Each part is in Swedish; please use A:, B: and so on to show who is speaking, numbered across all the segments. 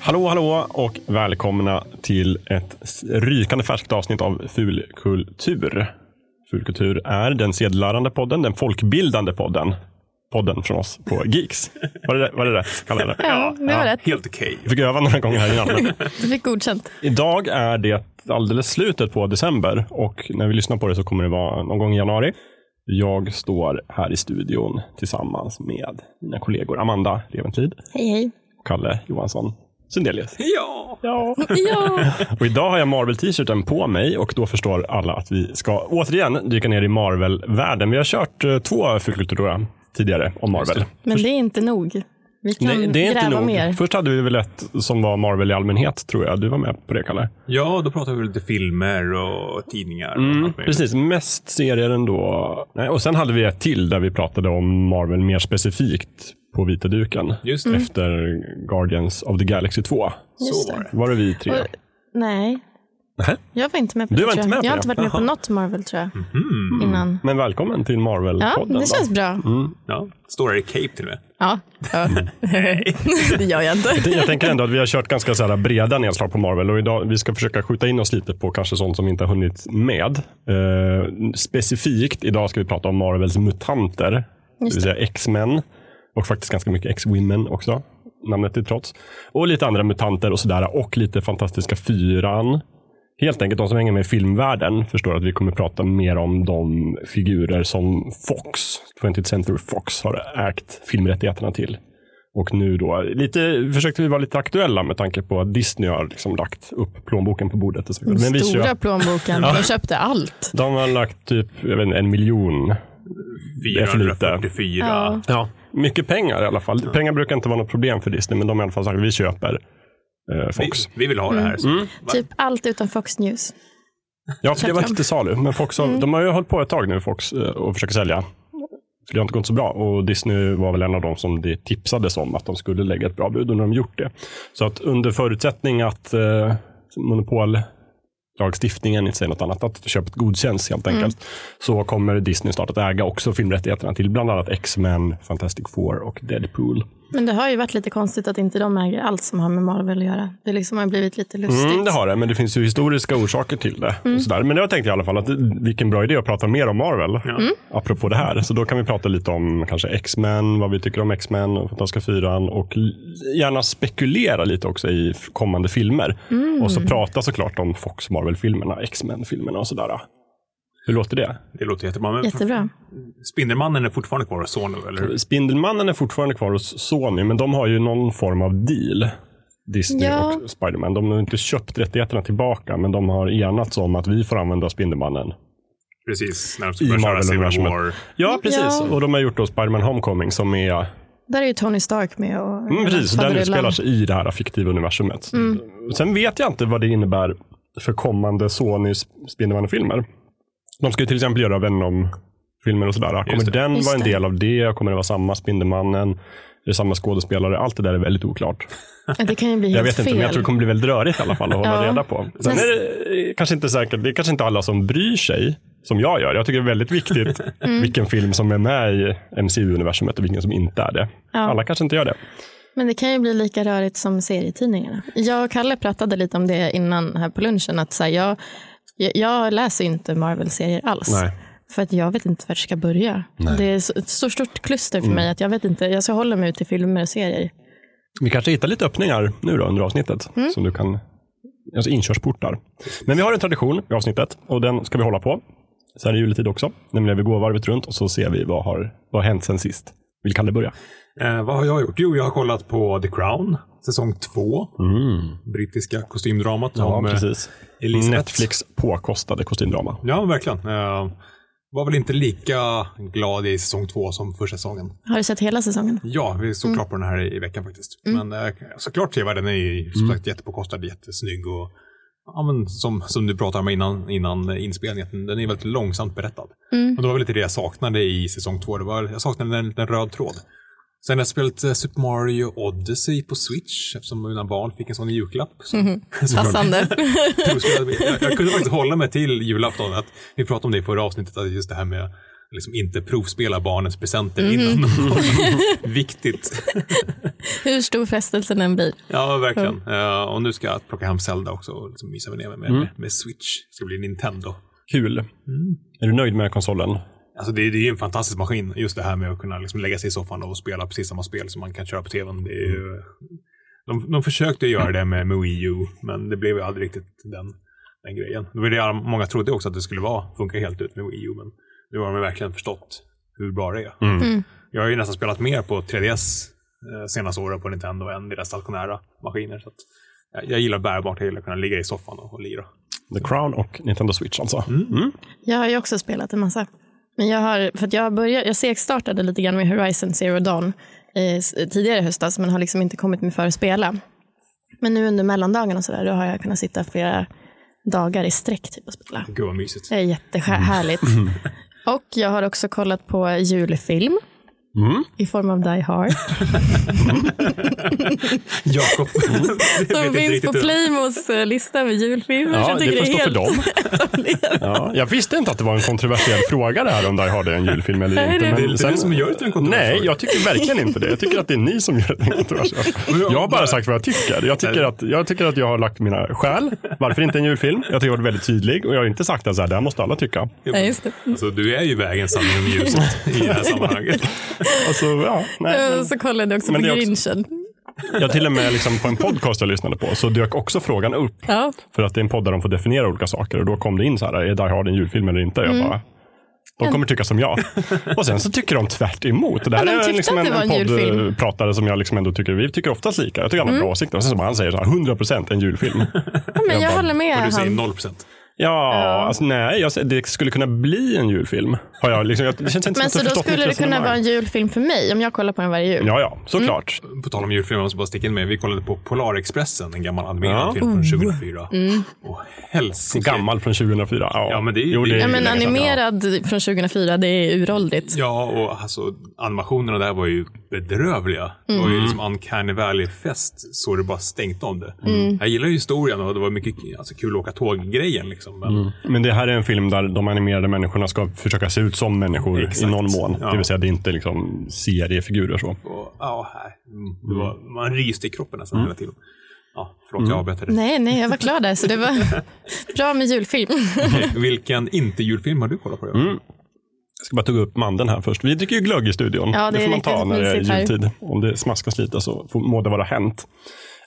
A: Hallå, hallå och välkomna till ett rykande färskt avsnitt av Fulkultur. Fulkultur är den sedelärande podden, den folkbildande podden. Podden från oss på Geeks. Var det var det, rätt? Kalle, eller?
B: Ja, det var rätt.
C: Helt okej.
A: Jag fick öva några gånger här innan.
B: Du fick godkänt.
A: Idag är det alldeles slutet på december och när vi lyssnar på det så kommer det vara någon gång i januari. Jag står här i studion tillsammans med mina kollegor Amanda Leventlid
B: Hej, hej.
A: och Kalle Johansson Sundelius.
C: Ja.
A: Ja.
B: Ja,
A: Och idag har jag Marvel-t-shirten på mig och då förstår alla att vi ska återigen dyka ner i Marvel-världen. Vi har kört eh, två fulkulturora tidigare om Marvel.
B: men det är inte nog. Vi kan
A: Nej, det är
B: gräva
A: inte nog.
B: mer.
A: Först hade vi väl ett som var Marvel i allmänhet, tror jag. Du var med på det, Kalle?
C: ja, då pratar vi lite filmer och tidningar. och
A: Mm,
C: allt möjligt.
A: precis, mest serier ändå. Nej, och sen hade vi ett till där vi pratade om Marvel mer specifikt på vita duken.
C: Just det.
A: Efter Guardians of the Galaxy 2.
B: Mm. Just
C: Så var det.
A: Var det vi tre?
B: Och, nej,
A: Nähä.
B: jag var inte med på
A: Du
B: det.
A: var
B: tror
A: inte
B: jag.
A: med på
B: jag har
A: det.
B: inte varit med på något Marvel tror jag. Innan.
A: Men välkommen till
B: Ja,
A: Marvel-podden.
B: det känns
A: då. Mm.
B: bra.
C: Ja. Står det i Cape till och med.
B: Ja. ja. det gör jag inte.
A: Jag tänker ändå att vi har kört ganska så här breda nedslag på Marvel och idag vi ska försöka skjuta in oss lite på kanske sånt som vi inte har hunnit med. Eh, specifikt idag ska vi prata om Marvels mutanter, det vill
B: Just
A: säga X-Men och faktiskt ganska mycket X-Women också, namnet till trots. Och lite andra mutanter och sådär och lite Fantastiska Fyran. Helt enkelt de som hänger med i filmvärlden förstår att vi kommer prata mer om de figurer som Fox, 20th Century Fox, har ägt filmrättigheterna till. Och nu då, lite, försökte vi vara lite aktuella med tanke på att Disney har liksom lagt upp plånboken på bordet. Och så. vidare. Men vi
B: Stora
A: kör,
B: plånboken. De köpte allt.
A: de har lagt typ jag vet inte, en miljon. Det är för lite.
C: 444.
B: Ja.
A: Ja. Mycket pengar i alla fall. Pengar brukar inte vara något problem för Disney, men de har i alla fall sagt att vi köper eh,
C: Vi,
A: Fox.
C: vi vill ha det här. Så.
A: Mm.
C: Va?
B: Typ allt utan Fox News.
A: Ja, för det var inte till salu. Men Fox har, de har ju hållit på ett tag nu, Fox, eh, och försöker sälja. För det har inte gått så bra. Och Disney var väl en av de som det tipsades om att de skulle lägga ett bra bud och nu har de gjort det. Så att under förutsättning att eh, monopollagstiftningen inte säger något annat, att köpet godkänns helt enkelt, så kommer Disney snart att äga också filmrättigheterna till bland annat X-Men, Fantastic Four och Deadpool.
B: Men det har ju varit lite konstigt att inte de äger allt som har med Marvel att göra. Det liksom har blivit lite lustigt.
A: Mm, det har det, men det finns ju historiska orsaker till det. Och sådär. Men jag tänkte i alla fall att det- vilken bra idé att prata mer om Marvel, apropå det här. Så då kan vi prata lite om kanske X-Men, vad vi tycker om X-Men, och Fantastiska fyran och l- gärna spekulera lite också i f- kommande filmer. Och så prata såklart om Fox Marvel-filmerna, X-Men-filmerna och sådär. Hur låter det?
C: Det låter jättebra. Men
B: Jättebra.
C: Spindelmannen är fortfarande kvar hos Sony, eller
A: Mm.
C: hur?
A: Spindelmannen är fortfarande kvar hos Sony, men de har ju någon form av deal. Disney
B: Ja.
A: och Spiderman. De har inte köpt rättigheterna tillbaka, men de har enats om att vi får använda Spindelmannen.
C: Precis. När de ska
A: I
C: börja köra Civil
A: Marvel-universumet.
C: War.
A: Ja, precis.
B: Ja.
A: Och de har gjort då Spiderman Homecoming som är...
B: Där är ju Tony Stark med och
A: Mm, precis, den
B: faderullan. Mm.
A: utspelar sig i det här fiktiva universumet. Sen vet jag inte vad det innebär för kommande Sony Sp- Spindelmannen-filmer. De ska ju till exempel göra Venom-filmer och sådär. Kommer
C: det.
A: den
B: Just
A: vara en
B: det.
A: del av det? Kommer det vara samma Spindelmannen? Är det samma skådespelare? Allt det där är väldigt oklart.
B: Ja, Det kan ju bli
A: Jag
B: helt
A: vet
B: fel.
A: inte, men jag tror det kommer bli väldigt rörigt i alla fall att hålla
B: Ja.
A: reda på. Sen
B: Näst-
A: är det eh, kanske inte säkert, det är kanske inte alla som bryr sig, som jag gör. Jag tycker det är väldigt viktigt vilken film som är med i MCU-universumet och vilken som inte är det. Alla kanske inte gör det.
B: Men det kan ju bli lika rörigt som serietidningarna. Jag och Kalle pratade lite om det innan här på lunchen. Att så här, jag, jag- jag läser ju inte Marvel-serier alls.
A: Nej.
B: För att jag vet inte vart jag ska börja. Det är så- ett så stort kluster för mig att jag vet inte. Jag så håller mig till filmer och serier.
A: Vi kanske hittar lite öppningar nu då under avsnittet som du kan, alltså inkörsportar. Men vi har en tradition i avsnittet och den ska vi hålla på. Sen är juletid också, nämligen vi går varvet runt och så ser vi vad har, vad har hänt sen sist. Vill Kalle börja?
C: Eh, vad har jag gjort? Jo, jag har kollat på The Crown, säsong två.
A: Mm.
C: Brittiska kostymdramat. om, eh, Elisabeth.
A: Netflix påkostade kostymdrama.
C: Ja, verkligen. Eh, var väl inte lika glad i säsong två som första säsongen.
B: Har du sett hela säsongen?
C: Ja, vi såg klart på den här i, i veckan faktiskt. Men eh, såklart ser jag den är ju som sagt jättepåkostad, jättesnygg och ja, men som, som du pratade om innan, innan inspelningen, att den är väldigt långsamt berättad. Och det var väl lite det jag saknade i säsong två. Det var, jag saknade en liten röd tråd. Sen har jag spelat eh, Super Mario Odyssey på Switch eftersom mina barn fick en sån i julklapp. Så, såklart.
B: Passande.
C: Jag, skulle- jag, jag kunde faktiskt hålla mig till julafton. Att vi pratade om det i förra avsnittet, att just det här med liksom inte provspela barnens presenter innan. Viktigt.
B: Hur stor frestelsen än blir.
C: Ja, verkligen. Eh, och nu ska jag plocka hem Zelda också och liksom mysa mig ner med, med, med Switch. Det ska bli Nintendo.
A: Kul. Är du nöjd med konsolen?
C: Alltså det, är- det är ju en fantastisk maskin, just det här med att kunna liksom lägga sig i soffan och spela precis samma spel som man kan köra på tvn. Det är ju, de, de försökte göra det med, med Wii U, men det blev ju aldrig riktigt den, den grejen. Det var det många trodde också att det skulle vara, funka helt ut med Wii U, men nu har de verkligen förstått hur bra det är.
B: Mm.
C: Jag har ju nästan spelat mer på 3DS eh, senaste åren på Nintendo än deras stationära maskiner. Så att jag, jag gillar bärbart, jag gillar att kunna ligga i soffan och, och lira.
A: The Crown och Nintendo Switch alltså. Mm.
B: Jag har ju också spelat en massa. Men jag, har, för att jag, började, jag segstartade lite grann med Horizon Zero Dawn eh, s- tidigare i höstas, men har liksom inte kommit mig för att spela. Men nu under mellandagen och sådär, då har jag kunnat sitta flera dagar i sträck typ, och spela.
C: Gud vad mysigt.
B: Det är jättehärligt. Och jag har också kollat på julfilm
A: Mm.
B: i form av Die Hard.
C: Jakob.
B: Som finns på Playmos eh, lista med julfilmer.
A: Ja,
B: så jag tycker
A: det får stå för dem.
B: helt dem.
A: Ja, jag visste inte att det var en kontroversiell fråga det här om Die Hard är en julfilm eller
B: Nej,
A: inte.
B: det-
A: men
C: Det är inte du som gör det till en kontroversiell
A: Nej,
C: fråga.
A: jag tycker verkligen inte det. Jag tycker att det är ni som gör det till en kontroversiell fråga. Jag har bara sagt vad jag tycker. Jag tycker, att, jag tycker att jag har lagt mina skäl. Varför inte en julfilm? Jag tycker jag har varit väldigt tydlig och jag har inte sagt att så här, det här måste alla tycka.
B: Ja, just det. Mm.
C: Alltså, du är ju vägen, sanningen och ljuset i det här sammanhanget.
A: Alltså, ja, nej, men-
B: Och så kollade jag också
A: Men
B: på
A: det är också-
B: Grinchen.
A: Jag till och med liksom, på en podcast jag lyssnade på så dök också frågan upp.
B: Ja.
A: För att det är en podd där de får definiera olika saker. Och då kom det in så här, är Die Hard en julfilm eller inte?
B: Mm.
A: Jag bara, de kommer tycka som jag. Och sen så tycker de tvärt emot. Och Det här
B: Ja, de
A: är
B: tyckte
A: liksom
B: att
A: en,
B: det var
A: en
B: en julfilm. Mm.
A: poddpratare som jag liksom ändå tycker, vi tycker oftast lika. Jag tycker han har bra åsikter. Och sen som han säger, så här, 100% en julfilm.
B: Ja, men jag håller med
C: Och du säger
B: han.
C: noll procent.
A: Ja, alltså nej, jag, säger- det skulle kunna bli en julfilm. Har jag, liksom, jag, det känns inte
B: Men så
A: som att jag
B: då
A: förstått mitt
B: skulle det kunna
A: resonemang.
B: vara en Mm. julfilm för mig om jag kollar på den varje jul?
A: Ja, ja, såklart.
C: På tal om julfilmer, jag måste bara sticka in med. Vi kollade på Polarexpressen, en gammal animerad
A: Ja.
B: Oh.
C: film från 2004.
B: Mm.
C: Och helsike.
A: Gammal från 2004. Ja,
C: Ja, men det är-
A: jo,
C: det är-
A: är
B: Ja,
A: ju liksom-
B: men
A: länge sedan,
B: animerad från 2004, det är uråldrigt.
C: Ja, och alltså animationerna där var ju bedrövliga. Det
A: Mm.
C: var ju liksom Uncanny Valley-fest, så det bara stängt om det.
B: Mm.
C: Jag gillar ju historien och det var mycket alltså, kul att åka tåg-grejen. Liksom. Men
A: Men det här är en film där de animerade människorna ska försöka se ut som människor i
C: Exakt.
A: någon mån.
C: Ja.
A: Det vill säga, det är inte liksom seriefigurer. så.
C: och, ja, nej. Mm, det var, man ryste i kroppen
A: Mm.
C: nästan hela tiden. Ja, förlåt, jag avbröt dig.
B: Nej, nej, jag var klar där, så det var bra med julfilm.
C: Okej, Vilken inte-julfilm har du kollat på? Jakob?
A: Mm, Jag ska bara tugga upp mandeln här först. Vi dricker ju glögg i studion.
B: Ja, det är
A: får man
B: riktigt
A: ta när det är
B: mysigt här.
A: jultid. Om det smaskas lite så får, må det vara hänt.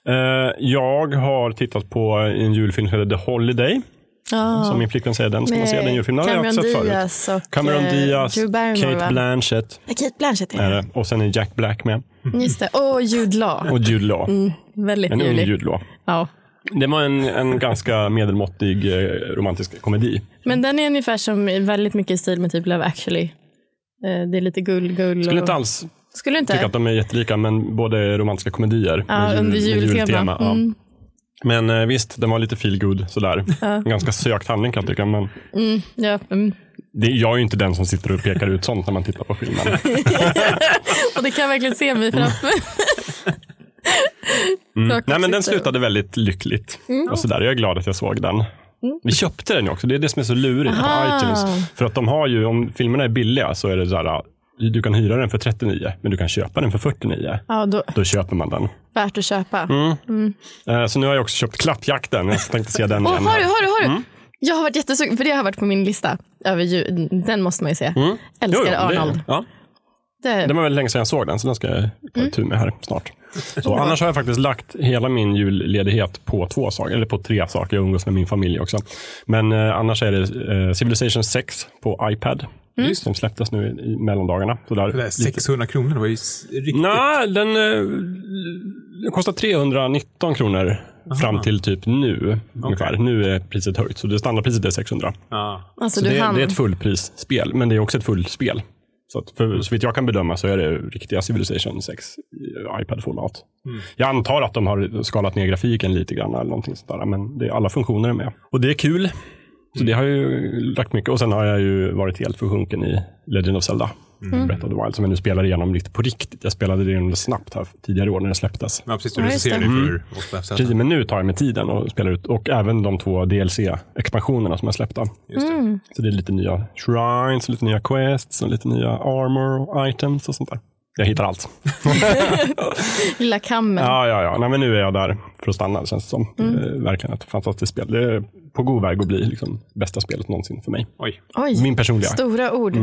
A: Eh, jag har tittat på en julfilm som heter The Holiday. Som
B: Ja,
A: min flickvän säger, den ska man
B: med
A: se. Den julfilmen har jag
B: Cameron
A: också sett förut.
B: Diaz och
A: Cameron
B: eh,
A: Diaz,
B: Drew Barrymore,
A: Kate
B: va?
A: Blanchett
B: Ja, Kate Blanchett
A: är
B: är
A: det. och sen är Jack Black med.
B: det. Just det, och Jude Law.
A: Och Jude Law.
B: Mm. Väldigt
A: En ung
B: julig.
A: Jude Law.
B: Ja.
A: Det var en, en ganska medelmåttig eh, romantisk komedi.
B: Men den är ungefär som väldigt mycket i stil med typ Love actually. Eh, Det är lite gull-gull.
A: Skulle inte
B: och...
A: alls
B: Skulle
A: tycka
B: inte?
A: att de är jättelika, men båda är romantiska komedier.
B: Ja,
A: med
B: under
A: med
B: jultema.
A: ja.
B: Mm.
A: Men eh, visst, den var lite feel good sådär. En ganska sökt handling kan jag tycka. Men
B: Ja, mm.
A: det, jag är ju inte den som sitter och pekar ut sånt när man tittar på filmen.
B: Och det kan jag verkligen se mig framför mig. Jakob
A: Mm. Nej, men den
B: sitter Mm. och-
A: slutade väldigt lyckligt. Och sådär. Jag är glad att jag såg den. Vi köpte den ju också. Det är det som är så lurigt på
B: Mm. Aha.
A: iTunes. För att de har ju, om filmerna är billiga så är det sådär, du kan hyra den för 39, men du kan köpa den för 49.
B: Ja, då,
A: Då köper man den.
B: värt att köpa.
A: Mm. Eh, Så nu har jag också köpt Klappjakten. Jag tänkte se den
B: Åh,
A: igen.
B: har du, har du, har du?
A: Mm.
B: Jag har varit jättesugen, för det har varit på min lista. Över ju, den måste man ju se. Älskar Arnold.
A: Mm. Det, ja,
B: Det,
A: det var väl länge sedan jag såg den, så den ska jag ta
B: Mm.
A: itu med här snart. Så, annars har jag faktiskt lagt hela min julledighet på två saker, eller på tre saker. Jag umgås med min familj också. Men eh, annars är det eh, Civilization 6 på iPad,
B: Mm.
A: som släpptes nu i, i mellandagarna. Så där,
C: Det där
A: lite-
C: 600 kronor, det var ju s- riktigt...
A: Nej, den, eh, den kostar 319 kronor fram till typ nu. Ungefär. Nu är priset höjt, så det standardpriset är 600.
C: Ja.
B: alltså,
A: Så
B: du
A: det, är-
B: hann.
A: det är ett fullprisspel, men det är också ett fullspel. Så, att för, så vitt jag kan bedöma så är det riktiga Civilization 6 i iPad-format. Jag antar att de har skalat ner grafiken lite grann eller någonting sånt där, men det är alla funktioner är med. Och det är kul. Så det har jag ju lagt mycket. Och sen har jag ju varit helt försjunken i Legend of Zelda.
B: Mm.
A: Breath of the Wild, som jag nu spelar igenom lite på riktigt. Jag spelade det igenom snabbt här tidigare i år när det släpptes.
C: Ja, precis. Du
B: Ja, just
C: recenserade
B: det.
C: ju
A: Mm.
C: för oss på FZ.
A: Precis, men nu tar jag mig tiden och spelar ut. Och även de två DLC-expansionerna som jag släppte.
C: Just det.
B: Mm.
A: Så det är lite nya shrines, och lite nya quests, och lite nya armor och items och sånt där. Jag hittar allt.
B: Lilla kammen.
A: Ja, ja, ja. Nej, men nu är jag där för att stanna, känns det som. Det är verkligen ett fantastiskt spel. Det är på god väg att bli liksom, bästa spelet någonsin för mig.
C: Oj.
B: Oj,
A: Min Mm. personliga.
B: stora ord.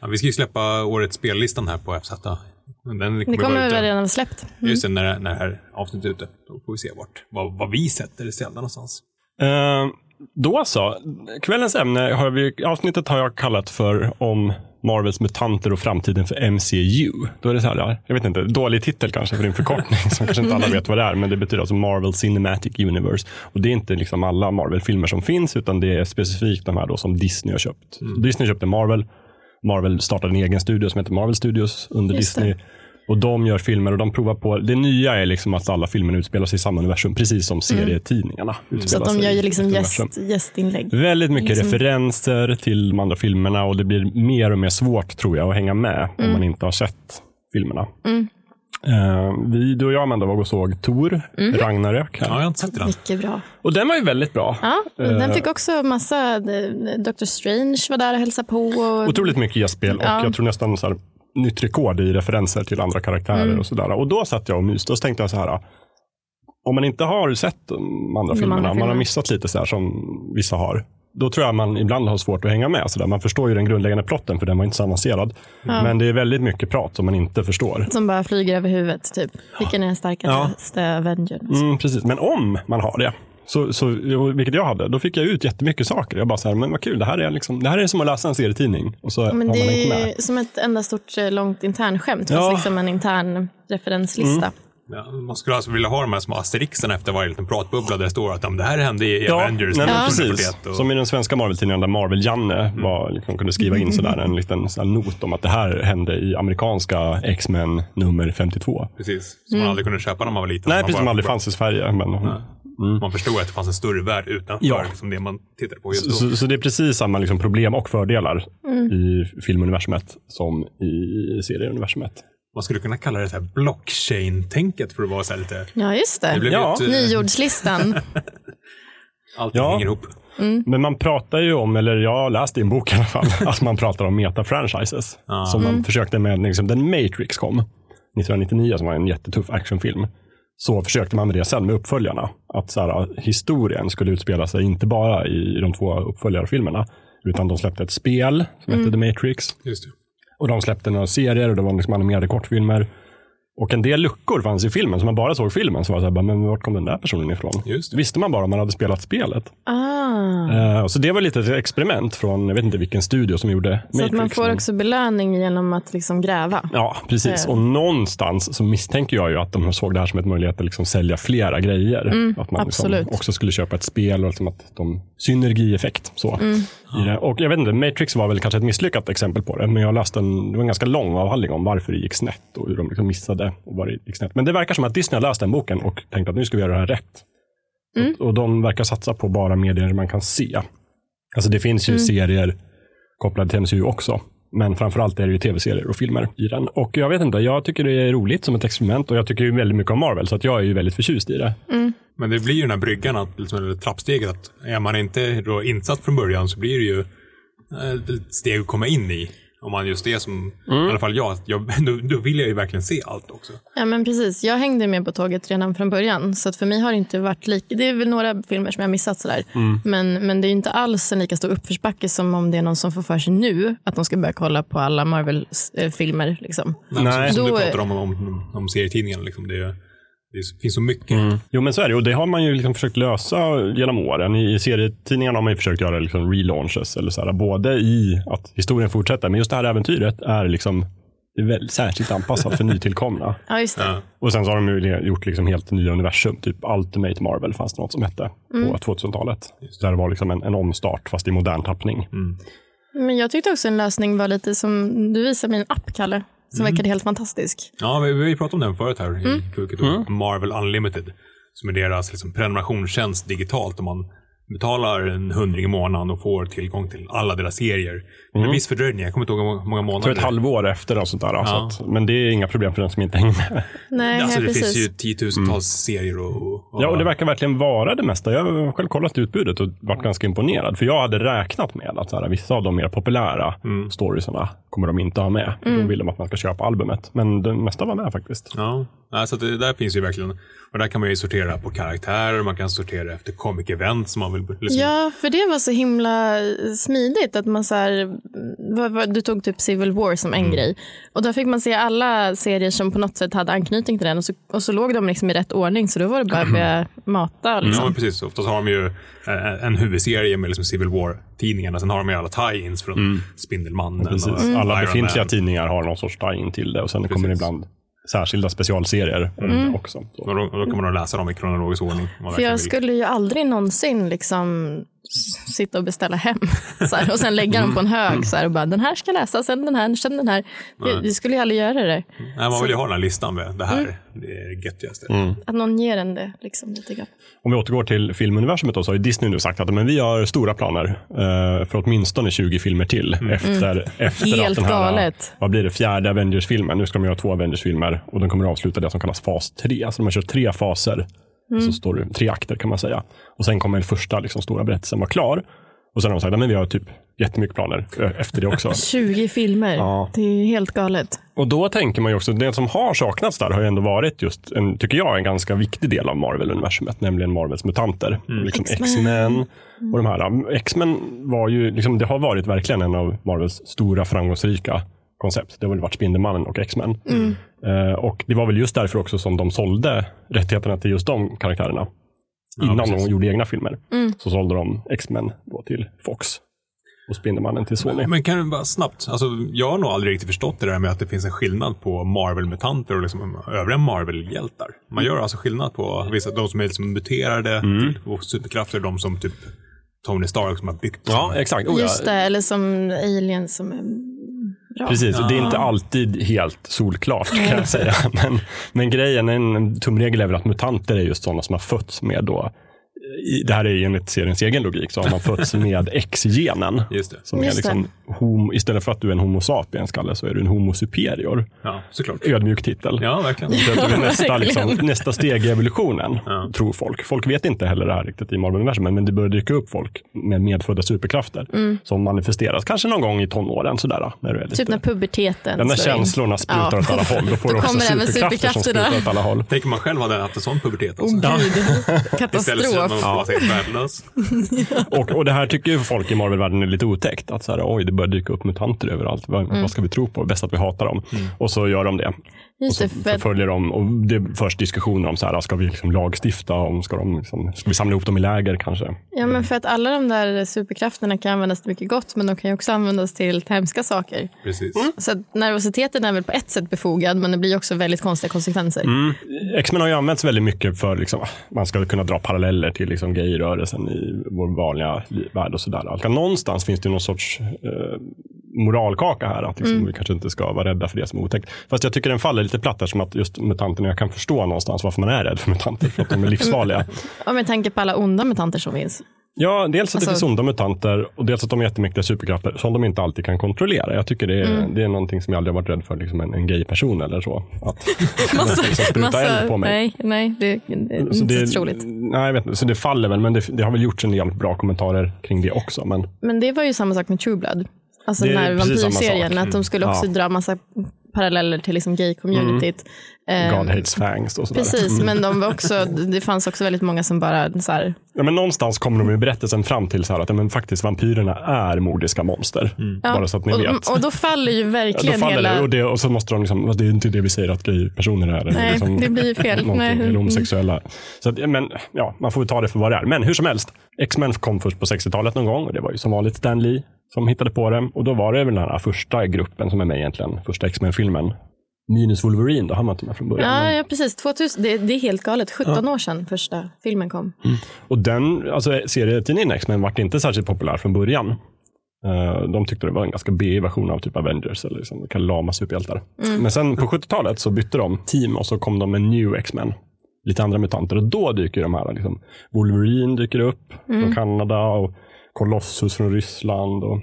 C: Ja, vi ska ju släppa årets spellistan här på FZ. Den kommer
B: Det
C: vara
B: kommer
C: ute-
B: vi redan ha släppt. Mm.
C: Just det, när, det- när det här avsnittet är ute. Då får vi se vart, vad, vad vi sätter stjärnan någonstans.
A: Eh, då så. Kvällens ämne, har vi, avsnittet har jag kallat för om Marvels mutanter och framtiden för MCU. Då är det så här, ja, jag vet inte, dålig titel kanske för en förkortning som kanske inte alla vet vad det är, men det betyder alltså Marvel Cinematic Universe. Och det är inte liksom alla Marvel-filmer som finns, utan det är specifikt de här då som Disney har köpt.
B: Mm.
A: Disney köpte Marvel, Marvel startade en egen studio som heter Marvel Studios under
B: Just det.
A: Disney. Och de gör filmer och de provar på, det nya är liksom att alla filmer utspelar sig i samma universum, precis
B: Mm.
A: som serietidningarna.
B: Så
A: utspelar
B: att de
A: sig
B: gör
A: i
B: ju
A: ett
B: liksom
A: universum.
B: gäst, gästinlägg.
A: Väldigt mycket
B: Liksom-
A: referenser till de andra filmerna och det blir mer och mer svårt tror jag att hänga med
B: Mm.
A: om man inte har sett filmerna. Eh, vi, du och jag Amanda var och såg Tor,
B: Mm.
A: Ragnarök. Här.
C: Ja, jag har inte sett den.
B: Mycket bra.
A: Och den var ju väldigt bra.
B: Ja, den
A: Eh,
B: fick också massa, Dr. Strange var där och hälsade på. Och,
A: Otroligt mycket gästspel och
B: Mm. Ja.
A: jag tror nästan så här, nytt rekord i referenser till andra karaktärer
B: Mm.
A: och sådär. Och då satt jag och myste och så tänkte jag så här. Om man inte har sett de andra
B: De
A: filmerna, man
B: andra
A: har
B: filmerna.
A: missat lite så här som vissa har. Då tror jag man ibland har svårt att hänga med. Så där. Man förstår ju den grundläggande plotten för den var inte så avancerad. Men det är väldigt mycket prat som man inte förstår.
B: Som bara flyger över huvudet, typ. Vilken är den starkaste Avengern?
A: Mm, precis. Men om man har det, så, så, vilket jag hade, då fick jag ut jättemycket saker. Jag bara så här, men vad kul, det här är, liksom, det här är som att läsa en serietidning. Och så har
B: Men
A: man
B: det
A: hängt med.
B: är ju som ett enda stort eh, långt internskämt,
A: Ja. Mm.
B: fast liksom en intern referenslista.
C: Ja, man skulle alltså vilja ha de här små asterixerna efter varje liten pratbubbla där det står att "Ja, men det här hände i Avengers
A: nej, men
C: 1941
A: precis. Som i den svenska Marvel-tidningen där Marvel-Janne var, liksom, kunde skriva in sådär, en liten sån här not om att det här hände i amerikanska X-Men nummer 52.
C: Precis, som
B: Mm.
C: man aldrig kunde köpa när man var liten.
A: Nej,
C: man
A: precis som
C: bara-
A: aldrig fanns i Sverige. Men,
C: Man förstod att det fanns en större värld utanför
A: Ja.
C: liksom det man tittade på just då.
A: så, så det är precis samma liksom, problem och fördelar i filmuniversumet som i serieuniversumet.
C: Man skulle kunna kalla det så här blockchain-tänket för att vara så här lite...
B: Ja, just det.
C: Det blev
A: Ja.
C: ju ett, eh,
B: Nyordslistan.
C: allting
A: Ja.
C: hänger ihop.
A: Men man pratar ju om, eller jag har läst i en bok i alla fall, att man pratar om meta-franchises. Som
C: Mm.
A: man försökte med, liksom, den Matrix kom 1999, som var en jättetuff actionfilm. Så försökte man med det sen med uppföljarna. Att så här, historien skulle utspela sig inte bara i de två uppföljarfilmerna. Utan de släppte ett spel som
C: Mm.
A: hette The Matrix.
C: Just det.
A: Och de släppte några serier och det var liksom animerade kortfilmer. Och en del luckor fanns i filmen, så man bara såg filmen. Så var det så här, bara, men vart kom den där personen ifrån?
C: Just det.
A: visste man bara om man hade spelat spelet.
B: ah.
A: Eh, Så det var lite ett experiment från, jag vet inte vilken studio som gjorde
B: Så
A: Matrix.
B: att man får
A: men-
B: också belöning genom att liksom gräva.
A: Ja, precis.
B: Eh.
A: Och någonstans så misstänker jag ju att de såg det här som en möjlighet att liksom sälja flera grejer. att man liksom
B: absolut.
A: också skulle köpa ett spel och liksom att de synergieffekt. Så, i det. Och jag vet inte, Matrix var väl kanske ett misslyckat exempel på det, men jag läste en, det var en ganska lång avhandling om varför det gick snett och hur de liksom missade och var det gick snett. Men det verkar som att Disney har läst den boken och tänkt att nu ska vi göra det här rätt. Och, och de verkar satsa på bara medier man kan se. Alltså det finns ju serier kopplade till MCU också. Men framförallt är det ju tv-serier och filmer i den. Och jag vet inte, jag tycker det är roligt som ett experiment och jag tycker ju väldigt mycket om Marvel, så att jag är ju väldigt förtjust i det.
C: Men det blir ju den här bryggan, att, liksom, eller trappsteget, att är man inte då insatt från början så blir det ju eh, ett steg att komma in i. Om man just är som,
A: Mm.
C: i alla fall jag, att jag då, då vill jag ju verkligen se allt också.
B: Ja, men precis. Jag hängde med på tåget redan från början. Så att för mig har det inte varit lika... Det är väl några filmer som jag missat sådär.
A: Mm.
B: Men, men det är ju inte alls en lika stor uppförsbacke som om det är någon som får för sig nu att de ska börja kolla på alla Marvel-filmer. Liksom.
A: Nej.
C: Som, som
B: Då-
C: du pratar om, om, om serietidningarna, liksom, det, det finns så mycket.
A: Jo men så är det, och det har man ju liksom försökt lösa genom åren. I serietidningarna har man ju försökt göra liksom relaunches, eller så här, både i att historien fortsätter, men just det här äventyret är liksom det är väl särskilt anpassat för nytillkomna.
B: Ja, just det.
C: Ja.
A: Och sen så har de ju gjort liksom helt nya universum. Typ Ultimate Marvel fanns det något som hette på 2000-talet. Där det var liksom en, en omstart fast i modern tappning.
B: Men jag tyckte också en lösning var lite som... Du visade mig en app, Kalle, som
C: Mhm.
B: verkade helt fantastisk.
C: Ja, vi, vi pratade om den förut här
B: Mm.
A: Mm.
C: i Kuket Marvel Unlimited. Som är deras liksom, prenumerationstjänst digitalt. Om man betalar en hundring i månaden och får tillgång till alla deras serier. Med en viss fördröjning, jag kommer inte ihåg hur må- många
A: Det tar
C: månader.
A: Mm. ett halvår efter och sånt där. Så
C: Ja.
A: att, men det är inga problem för den som inte hänger med.
B: Nej,
C: Alltså,
B: ja,
C: det
B: precis.
C: finns ju tiotusentals serier och, och,
A: Mm. Ja, och det verkar verkligen vara det mesta. Jag har själv kollat utbudet och
C: Mm.
A: varit ganska imponerad. För jag hade räknat med att så här, vissa av de mer populära
C: Mm.
A: storiesarna kommer de inte ha med. Då vill de att man ska köpa albumet. Men det mesta var med faktiskt.
C: Ja, nej, så att det där finns ju verkligen. Och där kan man ju sortera på karaktärer, man kan sortera efter comic event som man vill. Liksom,
B: Ja, för det var så himla eh, smidigt att man så här, mm, vad- vad- du tog typ Civil War som en
C: Mm.
B: grej och då fick man se alla serier som på något sätt hade anknytning till den och så, och så låg de liksom i rätt ordning så då var det bara att börja mata.
C: Mm. Ja,
B: Liksom.
C: men precis. Oftast har de ju eh, en huvudserie med liksom Civil War-tidningarna. Sen har de ju alla tie-ins från Spindelmannen och
A: Mm. Precis. Alla
C: Mm. Iron
A: befintliga
C: Man.
A: tidningar har någon sorts tie-in till det. Och sen kommer det ibland särskilda specialserier om det också. Så.
C: Och då, och då kan man då läsa dem i kronologisk ordning. om man
B: För
C: verkligen
B: jag
C: vill.
B: skulle ju aldrig någonsin liksom s- sitta och beställa hem så här, och sen lägga dem på
C: Mm.
B: en hög så här, och bara den här ska läsas, sen den här, sen den här. Jag, jag skulle ju aldrig göra det.
C: Nej, man vill ju ha den här listan med det
B: Mm.
C: här det är det göttigaste.
B: Att någon ger en det liksom, lite grann.
A: Om vi återgår till filmuniversumet då, så har ju Disney nu sagt att men vi har stora planer eh, för åtminstone 20 filmer till. Efter, efter att
B: Mm. Helt
A: den här,
B: galet.
A: vad blir det, fjärde Avengers-filmen. Nu ska de göra två Avengers-filmer och de kommer att avsluta det som kallas fas 3. Så de har kört tre
B: Mm.
A: faser, alltså story, tre akter kan man säga. Och sen kommer den första liksom, stora berättelsen vara klar. Och sen har de sagt att vi har typ jättemycket planer eh, efter det också.
B: 20 filmer, det är ju helt galet.
A: Och då tänker man ju också, det som har saknats där har ju ändå varit just, en, tycker jag, en ganska viktig del av Marvel-universumet, nämligen Marvels mutanter. Liksom
B: X-Men. Mm.
A: X-Men och de här. X-Men var ju, liksom, det har varit verkligen en av Marvels stora framgångsrika koncept. Det har väl varit Spindelmannen och X-Men.
B: Mm.
A: Eh, och det var väl just därför också som de sålde rättigheterna till just de karaktärerna. Innan de gjorde egna filmer
B: Mm.
A: så sålde de X-Men då till Fox och Spindelmannen till Sony.
C: Men kan du bara snabbt, alltså, jag har nog aldrig riktigt förstått det där med att det finns en skillnad på Marvel-mutanter och liksom övriga Marvel-hjältar. Man gör alltså skillnad på vissa, de som är liksom muterade till- och superkrafter, de som typ Tony Stark som har byggt.
A: Ja, exakt. Oh, ja.
B: Just det, eller som aliens som är bra.
A: Precis, och det är inte alltid helt solklart kan jag säga. Men, men grejen, en tumregel är väl att mutanter är just sådana som har fötts med då, i- det här är ju enligt seriens egen logik, så har man fötts med X-genen.
C: Just det.
A: Som är
B: Just det.
A: liksom, homo, istället för att du är en homo sapiens, Kalle, så är du en homo superior.
C: Ja, såklart.
A: Ödmjuk titel.
C: Ja, verkligen.
A: Så att det är nästa,
B: verkligen.
A: liksom, nästa steg i evolutionen, tror folk. Folk vet inte heller det här riktigt i Marvel-universumet, men det börjar dyka upp folk med medfödda superkrafter som manifesteras, kanske någon gång i tonåren. Sådär, när du är lite...
B: Mm. Typ när puberteten
A: Den där
B: slår in.
A: känslorna sprutar
B: Ja.
A: åt alla håll. Då får du också
B: kommer även
A: superkrafter som
B: superkrafterna.
A: sprutar åt alla håll.
C: Tänk om man själv hade haft en sån pubertet. Alltså.
B: Åh gud,
C: Istället för att man
B: Oh, katastrof. Mm.
C: bara helt värdelös.
A: Och, och det här tycker ju folk i Marvel-världen är lite otäckt. Att så här, oj, det börjar dyka upp mutanter överallt. Vad,
B: Mm.
A: vad ska vi tro på? Bäst att vi hatar dem. Och så gör de det.
B: Just det, för,
A: Förföljer dem. Och det förs diskussioner om så här, ska vi liksom lagstifta? Om, ska, de liksom, ska vi samla ihop dem i läger kanske?
B: ja, men för att alla de där superkrafterna kan användas till mycket gott, men de kan ju också användas till hemska saker.
C: Precis.
B: Så att nervositeten är väl på ett sätt befogad, men det blir ju också väldigt konstiga konsekvenser.
A: X-Men har ju använts väldigt mycket för liksom, man ska kunna dra paralleller till liksom, gayrörelsen i vår vanliga li- värld och sådär. Alltså, någonstans finns det ju någon sorts eh, moralkaka här, att liksom, vi kanske inte ska vara rädda för det som är otäckt. Fast jag tycker den faller lite platt där, som att just mutanterna, jag kan förstå någonstans varför man är rädd för mutanter, för att de är livsfarliga.
B: Och med tanke på alla onda mutanter som finns.
A: Ja, dels att det
B: Alltså-
A: finns onda mutanter och dels att de är jättemäktiga superkrafter som de inte alltid kan kontrollera. Jag tycker det är, det är någonting som jag aldrig har varit rädd för, liksom en, en gay person eller så. Att liksom spruta eld på mig.
B: nej, nej, det, det är
A: Så
B: inte
A: det,
B: så roligt.
A: Nej, jag vet inte. Så det faller väl, men det, det har väl gjorts en del bra kommentarer kring det också. Men
B: Men det var ju samma sak med True Blood. Alltså
A: Det är
B: den här
A: precis samma
B: vampyrserien,
A: sak. Mm.
B: att de skulle också
A: Ja.
B: dra massa paralleller till liksom gay-communityt. Ehm,
A: God hates fangs och sådär. Mm.
B: Precis, men de var också, det fanns också väldigt många som bara så här,
A: Ja, men någonstans kommer de i berättelsen fram till så här att ja, men faktiskt vampyrerna är mordiska monster. Bara så att ni
B: och,
A: vet.
B: och då faller ju
A: Ja,
B: verkligen
A: då faller
B: hela...
A: det, och det och så måste de liksom, fast det är inte det vi säger att gaypersoner är. eller
B: Nej,
A: liksom,
B: det blir ju fel.
A: någonting,
B: Nej. mm,
A: Eller homosexuella. Så att, ja, men, ja, man får väl ta det för vad det är. Men hur som helst, X-Men kom först på 60-talet någon gång och det var ju som vanligt Stan Lee som hittade på det. Och då var det väl den här första gruppen som är med egentligen, första X-Men-filmen. Minus Wolverine, då hann man inte med från början.
B: Ja, ja, precis. 2000, det, det är helt galet. 17 år sedan första
A: Mm.
B: filmen kom.
A: Och den alltså, serietidningen X-Men vart inte särskilt populär från början. Eh, De tyckte det var en ganska B version av typ Avengers, eller liksom
B: Mm.
A: lama superhjältar. Men sen på 70-talet så bytte de team och så kom de med New X-Men. lite andra mutanter. Och då dyker de här. Liksom. Wolverine dyker upp
B: Mm.
A: från Kanada och Colossus från Ryssland. Och,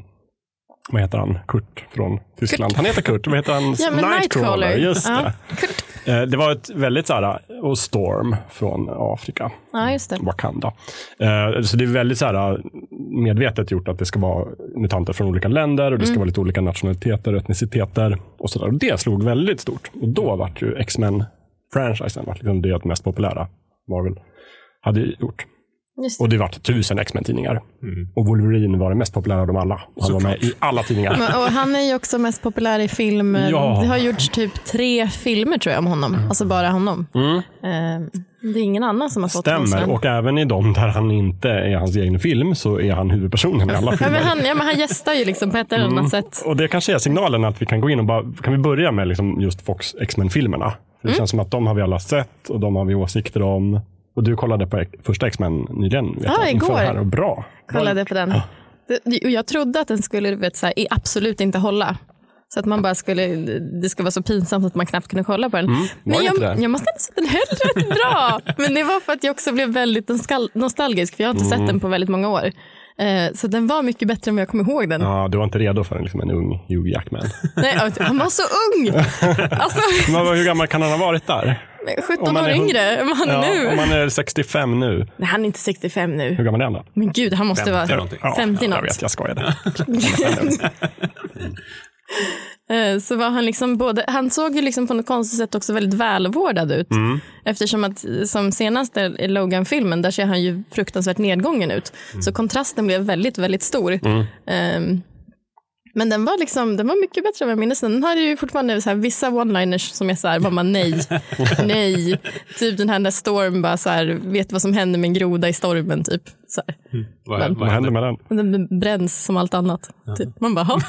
A: vad heter han? Kurt från Tyskland. Han heter Kurt. Vad heter han?
B: Ja, men Nightcrawler.
A: Just
B: Ja.
A: det. Eh, Det var ett väldigt så här, och Storm från Afrika,
B: Ja, just det.
A: Wakanda. Eh, Så det är väldigt så här, medvetet gjort att det ska vara mutanter från olika länder och det ska
B: Mm.
A: vara lite olika nationaliteter och etniciteter. Och så där. Och det slog väldigt stort. Och då vart ju X-Men-franchisen vart liksom det mest populära Marvel hade gjort.
B: Just det.
A: Och det vart tusen X-Men-tidningar.
C: Mm.
A: Och Wolverine var den mest populära av dem alla. Han var med i alla tidningar.
B: Men, och han är ju också mest populär i film.
A: Ja. Mm.
B: Det har gjorts typ tre filmer tror jag om honom. Alltså bara honom. Eh, det är ingen annan som har fått någon
A: Stämmer.
B: sån.
A: Och även i de där han inte är hans egen film så är han huvudpersonen i alla
B: Ja,
A: filmer.
B: men han, ja, men han gästar ju liksom på ett eller annat
A: Mm.
B: sätt.
A: Och det kanske är signalen att vi kan gå in och bara, kan vi börja med liksom just Fox X-Men-filmerna? För Det
B: Mm.
A: känns som att de har vi alla sett och de har vi åsikter om. Och du kollade på ex- första X-Men nyligen. Vet
B: Ja,
A: jag, inför
B: igår.
A: Här och bra.
B: Kollade på den. Det- det- Och jag trodde att den skulle du vet, så här, i- absolut inte hålla. Så att man bara skulle, det skulle vara så pinsamt att man knappt kunde kolla på den. men
A: den inte
B: jag,
A: Mm. det?
B: jag måste ändå säga att den höll rätt bra. Men det var för att jag också blev väldigt nostal- nostalgisk, för jag har inte
A: Mm.
B: sett den på väldigt många år. Eh, Så den var mycket bättre än vad jag kom ihåg den.
A: Ja, du var inte redo för en, liksom en ung Hugh Jackman.
B: Nej, han var så ung! Alltså,
A: Men vad- hur gammal kan han ha varit där?
B: 17
A: Om man
B: år
A: är hund-
B: yngre än vad han är
A: Ja,
B: nu.
A: Om han är 65 nu,
B: Nej, han är inte 65
A: hur
B: nu.
A: gammal är han då?
B: Men gud, han måste
C: 50
B: vara
C: någonting. Ja,
B: 50
A: jag
B: något.
A: vet, jag skojade.
B: Eh, så var han liksom både, han såg ju liksom på något konstigt sätt också väldigt välvårdad ut.
A: Mm.
B: Eftersom att eh, som senaste i Logan-filmen, där ser han ju fruktansvärt nedgången ut.
A: Mm.
B: Så kontrasten blev väldigt, väldigt stor. Ehm, men den var, liksom, den var mycket bättre än vad jag minns den. Den hade ju fortfarande så här, vissa one-liners som är så här, bara nej, nej. Typ den här där Storm bara så här, vet vad som händer med en groda i stormen typ. Så här.
C: Vad,
A: Vad hände med den?
B: Och Den bränns som allt annat. Typ. Man bara, "Ha."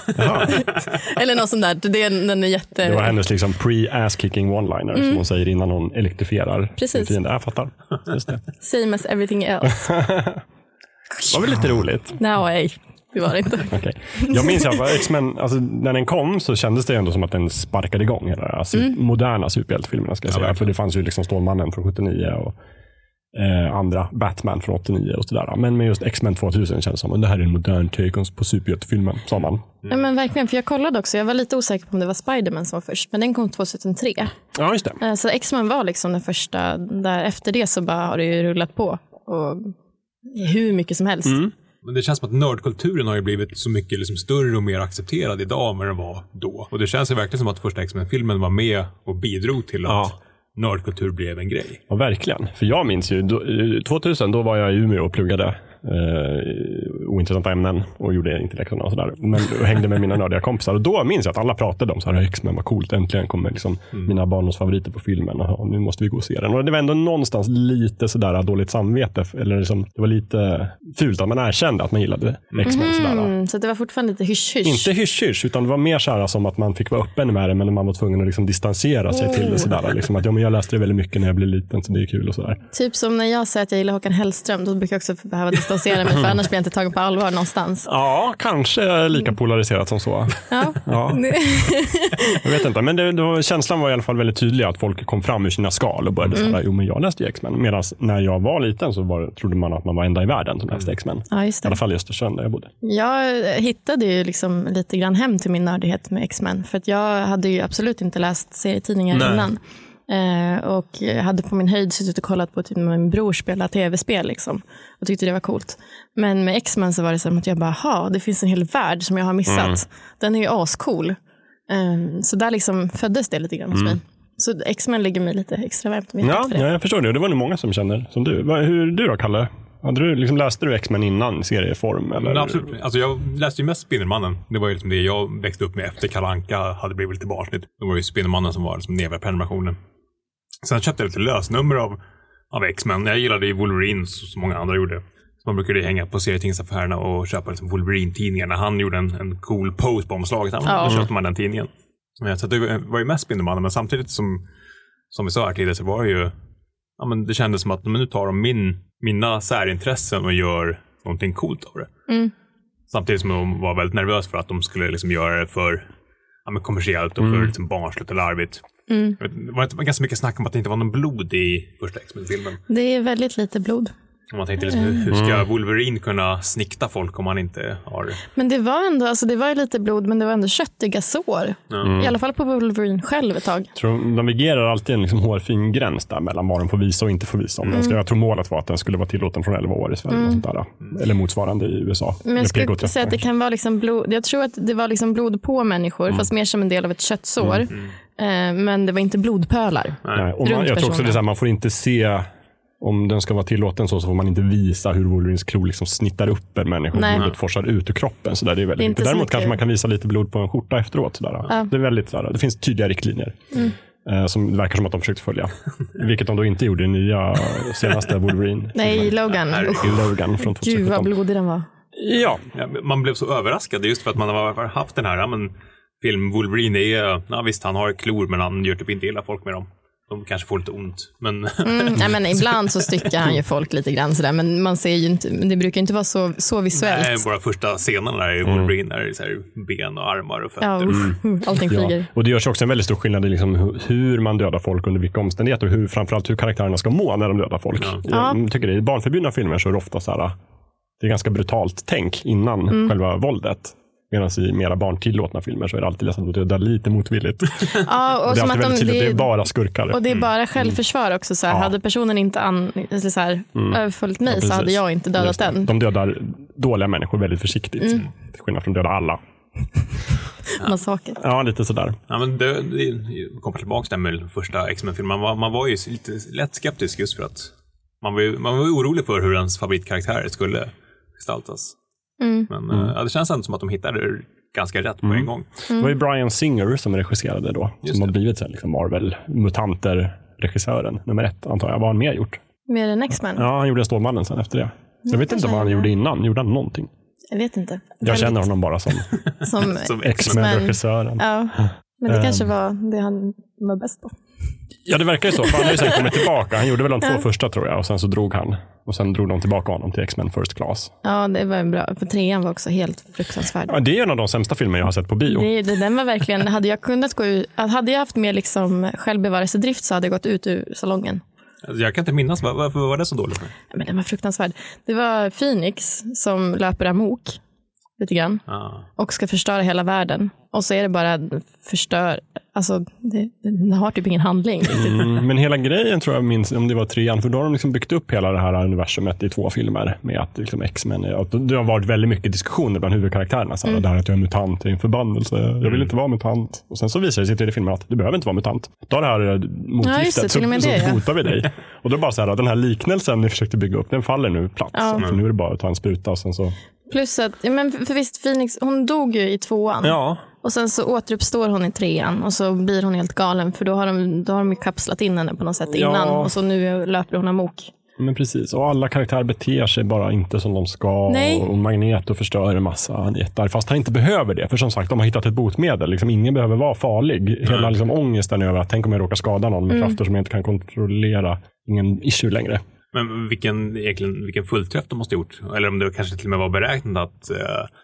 B: Eller något sånt där. Det är, den är jätte...
A: Det var hennes liksom pre-ass-kicking one-liner som hon säger innan hon elektrifierar
B: Mm. Precis.
A: sin fiende. Jag fattar. Just det.
B: Same as everything else.
A: det var väl lite roligt.
B: No way. Det var det inte.
A: Okej. Jag minns att X-Men, alltså, när den kom så kändes det ändå som att den sparkade igång hela den här su- moderna superhjältefilmerna. Ska jag säga. För det fanns ju liksom Stålmannen från 79 och eh, andra, Batman från 89 och sådär. Men med just X-Men 2000 kändes det som att det här är en modern take on- på superhjältefilmen, sa man.
B: Ja, men verkligen, för jag kollade också. Jag var lite osäker på om det var Spiderman som var först, men den kom 2003.
A: Ja, just det.
B: Eh, Så X-Men var liksom den första. Där efter det så bara har det ju rullat på. Och hur mycket som helst.
C: Men det känns som att nördkulturen har ju blivit så mycket liksom större och mer accepterad idag än vad den var då. Och det känns ju verkligen som att första X-Men-filmen var med och bidrog till att
A: Ja.
C: nördkultur blev en grej.
A: Ja, verkligen. För jag minns ju, då, eh, 2000 då var jag i Umeå och pluggade eh, ointressanta ämnen och gjorde inte läxorna och sådär. Men och hängde med mina nördiga kompisar. Och då minns jag att alla pratade om så här, X-Men, vad coolt, äntligen kommer liksom
B: Mm.
A: mina barndomsfavoriter på filmen. Och, ja, nu måste vi gå och se den. Och det var ändå någonstans lite sådär dåligt samvete. Eller liksom, det var lite fult att man erkände att man gillade X-Men. Sådär.
B: Mm, så det var fortfarande lite hysch-hysch.
A: Inte hysch-hysch, utan det var mer så här som att man fick vara öppen med det, men man var tvungen att liksom distansera sig till
B: Mm.
A: det. Sådär. Liksom att, ja, men jag läste det väldigt mycket när jag blev liten, så det är kul. och sådär.
B: Typ som när jag säger att jag gillar Håkan Hellström, då brukar jag också behöva distansera mig, för annars blir jag inte tagen på allvar någonstans.
A: Ja, kanske lika polariserat som så.
B: Ja.
A: Ja. jag vet inte, men det, det var, känslan var i alla fall väldigt tydlig att folk kom fram ur sina skal och började säga, jo men jag läste ju X-Men. Medan när jag var liten så var, trodde man att man var enda i världen som läste X-Men.
B: ja, just
A: I alla
B: det.
A: fall i Östersund där jag bodde.
B: Jag hittade ju liksom lite grann hem till min nördighet med X-Men. För att jag hade ju absolut inte läst serietidningar
A: Nej.
B: innan. Eh, och jag hade på min höjd suttit och kollat på typ när min bror spela tv-spel. Liksom, och tyckte det var coolt. Men med X-Men så var det som att jag bara, ha, det finns en hel värld som jag har missat.
A: Mm.
B: Den är ju ascool. Eh, så där liksom föddes det lite grann hos mig. Så X-Men ligger mig lite extra varmt om
A: Mm.
B: hjärtat
A: Ja,
B: för det.
A: ja, jag förstår det. Och Det var nog många som känner som du. Vad- Hur du då, Kalle? Hade du, liksom, läste du X-Men innan serieform? Eller?
C: Men absolut. Alltså jag läste ju mest Spindelmannen. Det var ju liksom det jag växte upp med efter Kalle Anka hade blivit lite barnsligt. Det var ju Spindelmannen som var liksom nedvärd prenumerationen. Sen köpte jag lite lösnummer av, av X-Men. Jag gillade ju Wolverine så- som många andra gjorde. Så Man brukade ju hänga på serietidningsaffärerna och köpa liksom Wolverine-tidningar. När han gjorde en, en cool pose på omslaget, ja.
B: Ja.
C: då köpte man den tidningen. Eh, Så att det var ju mest Spindelmannen, men samtidigt som, som vi sa här tidigare så var det ju ja, men det kändes som att men nu tar de min, mina särintressen och gör någonting coolt av det. Samtidigt som de var väldigt nervös för att de skulle liksom göra det för ja, men kommersiellt och för liksom barnsligt och larvigt.
B: Mm.
C: Jag vet, Det var ett- ganska mycket snack om att det inte var någon blod i första X-Men-filmen.
B: Det är väldigt lite blod.
C: Och Man tänkte liksom, hur hur
B: Mm.
C: ska Wolverine kunna snikta folk om han inte har...
B: Men det var ändå, alltså det var ju lite blod, men det var ändå köttiga sår.
A: Mm.
B: I alla fall på Wolverine själv ett tag.
A: tror de navigerar alltid en liksom hårfin gräns där mellan vad de får visa och inte får visa. Om den
B: Mm.
A: ska, jag tror målet var att den skulle vara tillåten från 11 år i Sverige. Och sånt där, eller motsvarande i USA.
B: Men
A: Eller
B: jag skulle
A: PK-13
B: inte säga att det kan vara liksom blod. Jag tror att det var liksom blod på människor,
A: Mm.
B: fast mer som en del av ett köttsår. Eh, Men det var inte blodpölar.
A: Nej, och man,
B: Runt
A: jag tror också det är
B: personen.
A: så här, man får inte se, om den ska vara tillåten så, så får man inte visa hur Wolverines klo liksom snittar upp en människa
B: Nej.
A: och blodet forsar ut ur kroppen. Så där, det är väldigt
B: Det är
A: lite.
B: inte så
A: Däremot
B: mycket-
A: kanske man kan visa lite blod på en skjorta efteråt. Så där. Det, är väldigt, så där, det finns tydliga riktlinjer.
B: Mm.
A: eh, Som det verkar som att de försökte följa. Vilket de då inte gjorde i nya senaste Wolverine.
B: Nej, Logan. Usch,
A: I Logan från
B: Gud vad
A: 2017.
B: blodig den var.
A: Ja,
C: Ja, men Man blev så överraskad just för att man har haft den här ja, men, film Wolverine är, ja, visst han har klor men han gör typ inte illa folk med dem. De kanske får lite ont. Men
B: Mm, nej, men ibland så styckar han ju folk lite grann sådär, men man ser ju inte, det brukar ju inte vara så, så visuellt.
C: Nej, våra första scener där är Wolverine där är så här, ben och armar och fötter.
B: Ja, usch, usch, allting
A: Mm. Ja.
B: flyger.
A: Och det görs också en väldigt stor skillnad i liksom hu- hur man dödar folk under vilka omständigheter och hur, framförallt hur karaktärerna ska må när de dödar folk. Jag tycker det, I barnförbjudna filmer så är det ofta så här, äh, det är ganska brutalt tänk innan
B: Mm.
A: själva våldet. Medan i mera barntillåtna filmer så är det alltid nästan att döda lite motvilligt.
B: Ja, och
A: det är alltid
B: som att
A: väldigt
B: de,
A: tydligt, det
B: det,
A: är bara skurkar.
B: och det är
A: Mm.
B: bara självförsvar också. Så här, Hade personen inte an, eller så här, överföljt mig så
A: Mm. Precis.
B: hade jag inte dödat
A: Just det.
B: den. Mm.
A: De dödar dåliga människor väldigt försiktigt. Till skillnad från att döda alla.
B: Massaker.
A: Ja, lite sådär.
C: Ja, men det, det kommer tillbaka till den första X-Men-filmen. Man var, man var ju lite lätt skeptisk just för att man var, ju, man var ju orolig för hur ens favoritkaraktär skulle gestaltas. Men eh, ja, det känns ändå som att de hittade ganska rätt på en gång.
A: Det var ju Brian Singer som regisserade då. som har blivit sen liksom Marvel-mutanter-regissören nummer ett, antar jag. Vad har han mer gjort?
B: Mer än X-Men?
A: Ja, han gjorde Stålmannen sen efter det. Så jag vet inte vad han gjorde innan. Gjorde han någonting?
B: Jag vet inte.
A: Jag känner honom bara som
B: Som,
C: Som X-Men.
A: X-Men-regissören.
B: ja. Men
A: Ehm.
B: det kanske var det han var bäst på.
A: Ja, det verkar ju så. För han har ju sen kommit tillbaka. Han gjorde väl de två första tror jag och sen så drog han. Och sen drog de tillbaka honom till X-Men First Class.
B: Ja, det var bra. För trean var också helt fruktansvärd.
A: Ja, det är en av de sämsta filmer jag har sett på bio.
B: Det, det, den var verkligen, hade jag kunnat gå ut, att hade jag haft mer liksom självbevarelsedrift så hade jag gått ut ur salongen.
C: Alltså, jag kan inte minnas, var- varför var det så dåligt? För?
B: Ja, Men den var fruktansvärd. Det var Phoenix som löper amok lite grann
C: Ja.
B: och ska förstöra hela världen. Och så är det bara förstör, alltså det, den har typ ingen handling.
A: Mm, men hela grejen tror jag minns, om det var trean, för då har de liksom byggt upp hela det här universumet i två filmer med att liksom X-Men, är- att det har varit väldigt mycket diskussioner bland huvudkaraktärerna.
B: Mm.
A: Så här, Det här att jag är mutant, det är en förbannelse, jag vill inte vara mutant. Och sen så visar det sig i tredje filmen att du behöver inte vara mutant. Ta det här eh,
B: Ja, just
A: motgiftet
B: det, till och med
A: så,
B: det,
A: så
B: ja.
A: botar vi dig. Och då bara så här, den här liknelsen ni försökte bygga upp, den faller nu platt.
B: Ja.
A: För nu är det bara att ta en spruta och sen så...
B: Plus att, ja, men för visst Phoenix, hon dog ju i tvåan.
A: Ja.
B: Och sen så återuppstår hon i trean och så blir hon helt galen för då har de, då har de ju kapslat in henne på något sätt
A: Ja.
B: innan och så nu löper hon amok.
A: Men precis, och alla karaktärer beter sig bara inte som de ska.
B: Nej.
A: Och Magneto förstör en massa, han är jättearg, fast han inte behöver det. För som sagt, de har hittat ett botemedel. Liksom, ingen behöver vara farlig. Hela liksom, ångesten över att tänk om jag råkar skada någon
B: Mm.
A: med krafter som jag inte kan kontrollera. Ingen issue längre.
C: Men vilken, egentligen, vilken fullträff de måste ha gjort. Eller om det kanske till och med var beräknat att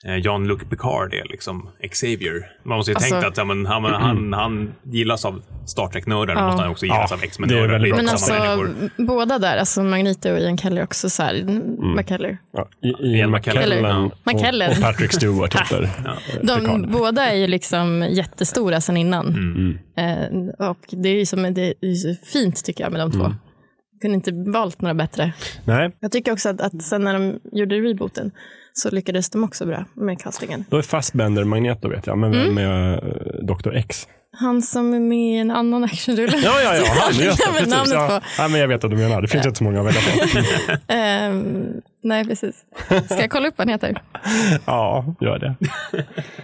C: eh, Jean-Luc Picard är liksom Xavier. Man måste ju
B: Alltså-
C: tänkt att ja, men, han, han, han gillas av Star Trek-nördar, då måste han också gillas
A: Ja,
C: av
A: det är
C: X-Men-nördar.
A: väldigt
C: Det är
A: bra
B: Men
C: samma
B: alltså
C: människor.
B: båda där, alltså Magneto och Ian Keller också så här,
A: Mm.
B: McKellar.
A: Ja, I- Ian
C: McKellen.
A: McKellen
C: Ja.
A: och,
B: McKellen.
A: och Patrick Stewart heter
B: De
A: Picard.
B: båda är ju liksom jättestora sen innan.
A: Mm.
B: Eh, och det är ju som, det är ju så fint tycker jag med de två.
A: Mm.
B: Kunde inte valt några bättre.
A: Nej,
B: Jag tycker också att, att sen när de gjorde rebooten så lyckades de också bra med castingen.
A: då är Fassbender Magneto vet jag, men vem
B: Mm.
A: är eh, Dr. X?
B: Han som är med i en annan actionrulle.
A: Ja, ja, ja, han,
B: Jag
A: just det,
B: glömmer
A: precis.
B: namnet
A: Ja,
B: på.
A: ja, men jag vet vad du menar. Det finns inte så många att välja på.
B: Ehm, nej, precis. Ska jag kolla upp vad han heter?
A: Ja, gör det.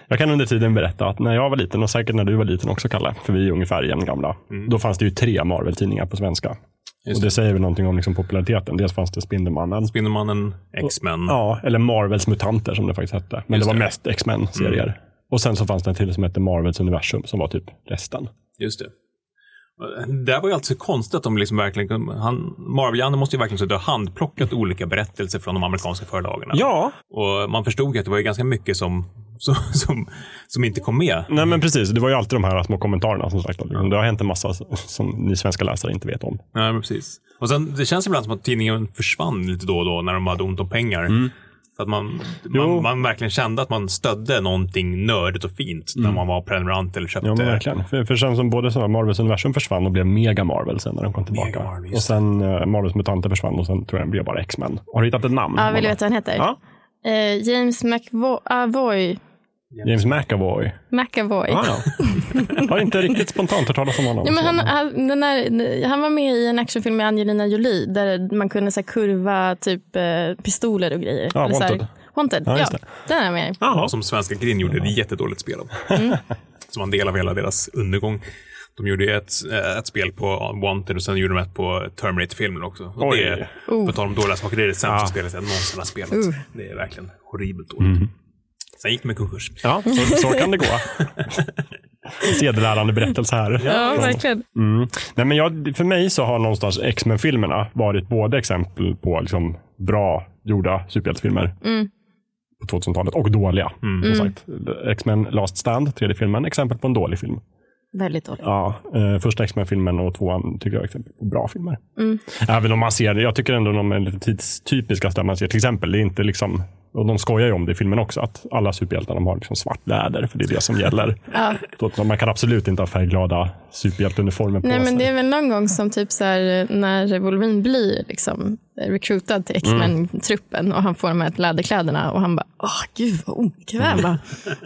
A: Jag kan under tiden berätta att när jag var liten och säkert när du var liten också, Kalle, för vi är ungefär jämngamla, då fanns det ju tre Marvel-tidningar på svenska.
C: Just
A: och Mm. det säger väl någonting om liksom populariteten. Dels fanns det Spindelmannen,
C: Spindelmannen, X-Men.
A: ja, eller Marvels mutanter som det faktiskt hette. Men det Mm. var mest X-Men-serier. Och sen så fanns det en till som hette Marvels universum som var typ resten.
C: Just det. Det här var ju alltid så konstigt att de liksom verkligen, han, Marvel-Janne måste ju verkligen sitta och handplockat olika berättelser från de amerikanska förlagarna.
A: Ja,
C: Och man förstod ju att det var ju ganska mycket som som, som, som inte kom med.
A: Nej, men precis. Det var ju alltid de här små kommentarerna. som sagt. Det har hänt en massa som ni svenska läsare inte vet om.
C: Nej, men precis. Och sen, det känns ibland som att tidningen försvann lite då och då när de hade ont om pengar. Så att man,
A: Mm. Jo.
C: man, man verkligen kände att man stödde någonting nördigt och fint när man var prenumerant eller köpte.
A: Mm. Ja, men verkligen. eh, För, för sen som både så här Marvels universum försvann och blev Mega Marvel sen när de kom tillbaka.
C: Mega Marvel,
A: och
C: just
A: sen eh, Marvels mutanter försvann och sen tror jag den blev bara X-Men. Har du hittat ett namn?
B: Ja, vill du veta vad han heter?
A: Ja.
B: Eh, James McAvoy.
A: James McAvoy.
B: McAvoy.
A: Ah, ja. Har inte riktigt spontant hört talas om honom.
B: Ja, men han,
A: Så-
B: han, den här, han var med i en actionfilm med Angelina Jolie där man kunde så här, kurva typ eh, pistoler och grejer.
A: Ja,
B: så här-
A: Wanted.
B: Wanted,
A: Ja,
B: ja.
A: just
B: Den är jag med i.
A: Jaha.
C: Och som svenska Grin gjorde, det är jättedåligt spel av.
B: Mm.
C: Som var en del av hela deras undergång. De gjorde ju ett, eh, ett spel på Wanted och sen gjorde de ett på Terminator-filmen också. Och
A: Oj. Ah.
C: Det,
B: Oh.
C: På tal om dåliga saker, det är det sämsta
A: Ja.
C: spelet jag någonsin har spelat.
B: Uh.
C: Det är verkligen horribelt
A: Mm.
C: dåligt. Sen gick de i konkurs.
A: Ja, så, så kan det gå. Sedelärande berättelse här.
B: Ja, verkligen.
A: Mm. Nej, men jag, för mig så har någonstans X-Men-filmerna varit både exempel på liksom bra gjorda superhjältefilmer
B: Mm.
A: på 2000-talet och dåliga. som sagt. X-Men Last Stand, tredje filmen, exempel på en dålig film.
B: Väldigt dålig.
A: Ja, eh, första X-Men-filmen och tvåan tycker jag är exempel på bra filmer.
B: Mm.
A: Även om man ser, jag tycker ändå de är lite tidstypiska. Där man ser till exempel, det är inte liksom, och de skojar ju om det i filmen också, att alla superhjältar de har liksom svart läder, för det är det som gäller. Så att man kan absolut inte ha färgglada superhjälteuniformer på
B: Nej,
A: sig.
B: men det är väl någon gång som typ så här, när Wolverine blir liksom recruitad till
A: Mm.
B: X-Men-truppen och han får de här läderkläderna och han bara, åh gud vad obekväma.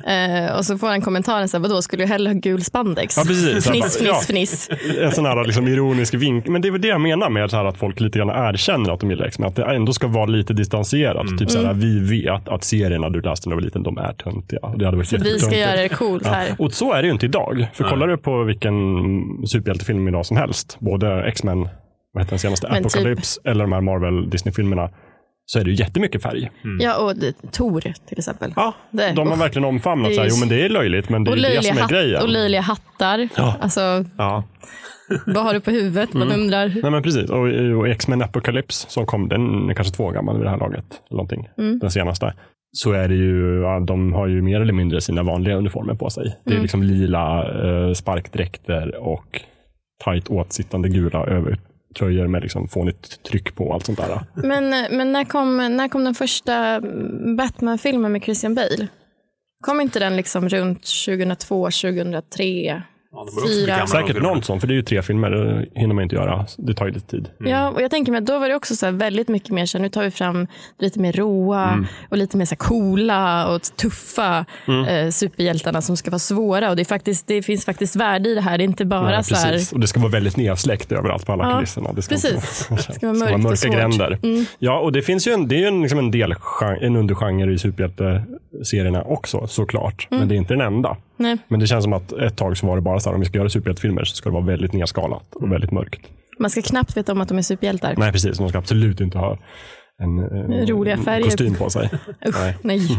B: eh, och så får han kommentaren, så här, vadå, skulle du hellre ha gul spandex?
A: Mm. Ja, precis. Han
B: fniss,
A: bara,
B: fniss, fniss.
A: en sån här liksom ironisk vink. Men det är väl det jag menar med så här att folk lite grann erkänner att de gillar X-Men. Att det ändå ska vara lite distanserat.
B: Mm.
A: Typ så här, vi vet att serierna du läste när du var liten, de är töntiga. Det hade varit
B: Vi ska
A: jättetöntigt.
B: göra det coolt här.
A: Och så är det ju inte idag. För kollar du på vilken superhjältefilm idag som helst, både X-Men, vad heter den senaste,
B: Men typ-
A: Apocalypse eller de här Marvel Disney-filmerna, så är det ju jättemycket färg.
B: Ja, och det- Tor till exempel.
A: Ja,
B: Det-
A: de har
B: usch.
A: verkligen omfamnat
B: Det är
A: så här,
B: ju-
A: jo men det är löjligt, men det är
B: Och
A: ju det
B: löjliga,
A: som är
B: hatt,
A: grejen.
B: och löjliga hattar.
A: Ja. Mm.
B: Alltså,
A: Ja.
B: vad har du på huvudet? Man undrar.
A: Nej men precis. Och, eh, och X-Men Apocalypse som kom, den är kanske två år gammal vid det här laget. Eller någonting. Den senaste. Så är det ju, ja, de har ju mer eller mindre sina vanliga uniformer på sig. Det är liksom lila eh, sparkdräkter och tajt åtsittande gula övertröjor med liksom fånigt tryck på och allt sånt där.
B: Men, men när, kom, när kom den första Batman-filmen med Christian Bale? Kom inte den liksom runt 2002, 2003?
C: Ja, de var också
B: Fyra.
C: mycket gamla, de
A: Säkert
C: filmerna.
A: någon sån, för det är ju tre filmer. Det hinner man inte göra. Det tar ju lite tid.
B: Ja, och jag tänker mig att då var det också så här väldigt mycket mer så här, nu tar vi fram lite mer råa
A: Mm.
B: och lite mer så här coola och tuffa eh, superhjältarna som ska vara svåra. Och det, är faktiskt, det finns faktiskt värde i det här. Det är inte bara
A: Nej,
B: så här
A: precis. Och det ska vara väldigt nedsläckt överallt på alla
B: Ja,
A: kulisserna. Det ska
B: precis.
A: Inte,
B: Det ska vara mörkt och
A: mörka
B: svårt. Mm.
A: gränder. Ja, och det finns ju en, det är ju en, liksom en, del, en undergenre i superhjälteserierna också såklart. Men det är inte den enda.
B: Mm. Nej.
A: Men det känns som att ett tag så var det bara så här, om vi ska göra superhjältefilmer så ska det vara väldigt nedskalat och väldigt mörkt.
B: Man ska knappt veta om att de är superhjältar.
A: Nej, precis. De ska absolut inte ha en, en
B: Roliga
A: en
B: färger.
A: kostym på sig. Nej.
B: Nej.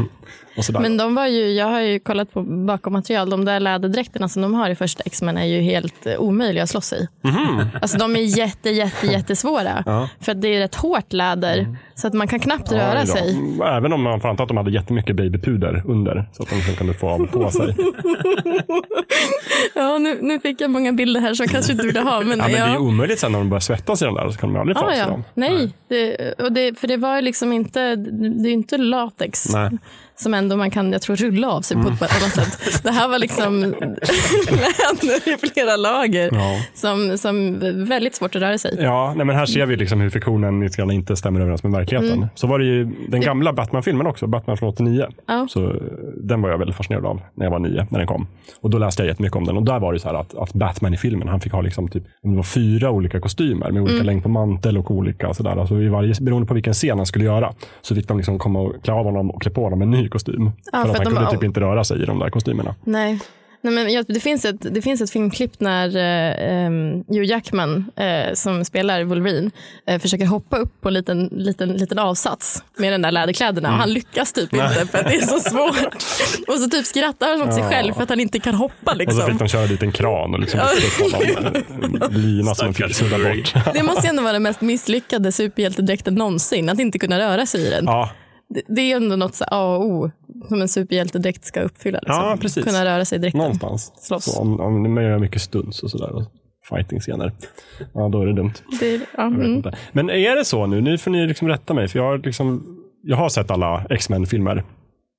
A: Och sådär.
B: Men de var ju, jag har ju kollat på bakom material. De där läderdräkterna som de har i första X-Men är ju helt eh, omöjliga att slåss i.
A: Mhm.
B: Alltså de är jätte, jätte, jättesvåra. För att det är rätt hårt läder.
A: Mm.
B: Så att man kan knappt
A: Ja,
B: röra
A: idag.
B: sig.
A: Mm, Även om man får anta att de hade jättemycket babypuder under så att de sen kunde få av på sig.
B: Ja, nu, nu fick jag många bilder här som jag kanske inte ville ha. Men,
A: Ja, men
B: ja.
A: Det är ju omöjligt sen när de börjar svettas i den där så kan de ju aldrig ta av
B: Ah,
A: sig
B: ja.
A: dem.
B: Nej, det, och det, för det var ju liksom inte, det är ju inte latex
A: Nej. Mm.
B: som ändå man kan, jag tror, rulla av sig på ett annat sätt. Det här var liksom läder i flera lager
A: Ja.
B: som, som väldigt svårt att röra sig.
A: Ja, nej, men här ser vi liksom hur fiktionen lite grann inte stämmer överens med verkligheten.
B: Mm.
A: Så var det ju den gamla Batman-filmen också, Batman från 89.
B: Ja.
A: Så, eh, den var jag väldigt fascinerad av när jag var nio, när den kom. Och Då läste jag jättemycket om den. Och Där var det så här att, att Batman i filmen, han fick ha liksom typ, om det var fyra olika kostymer med
B: Mm.
A: olika längd på mantel och olika sådär. Alltså i varje, beroende på vilken scen han skulle göra så fick de liksom komma och klä av honom och klä på honom en ny kostym. för, att
B: för att
A: han
B: de
A: kunde
B: var-
A: typ inte röra sig i de där kostymerna.
B: Nej. Nej, men jag, det, finns ett, det finns ett filmklipp när eh, em, Hugh Jackman, eh, som spelar Wolverine, eh, försöker hoppa upp på en liten, liten, liten avsats med den där läderkläderna.
A: Mm.
B: Och han lyckas typ inte för att det är så svårt. och så typ skrattar han åt sig själv för att han inte kan
A: Och
B: hoppa.
A: så
B: Liksom.
A: fick de köra dit en kran och liksom lyfta upp honom med en lina som de fick
C: Stackars
A: sudda
C: Wolverine.
A: bort.
B: Det måste ju ändå vara den mest misslyckade superhjältedräkten någonsin, att inte kunna röra sig i den.
A: Ja,
B: Det, det är ändå något så här A och O som en superhjältedräkt ska uppfylla. Liksom.
A: Ja, precis.
B: Kunna röra sig i dräkten.
A: Någonstans.
B: Slåss.
A: Så om, om man gör mycket stunts och sådär. Och fighting-scener. Ja, då är det dumt.
B: Det är, ja,
A: Jag vet
B: mm.
A: inte. Men är det så nu? Nu får ni liksom rätta mig. För jag har, liksom, jag har sett alla X-Men-filmer.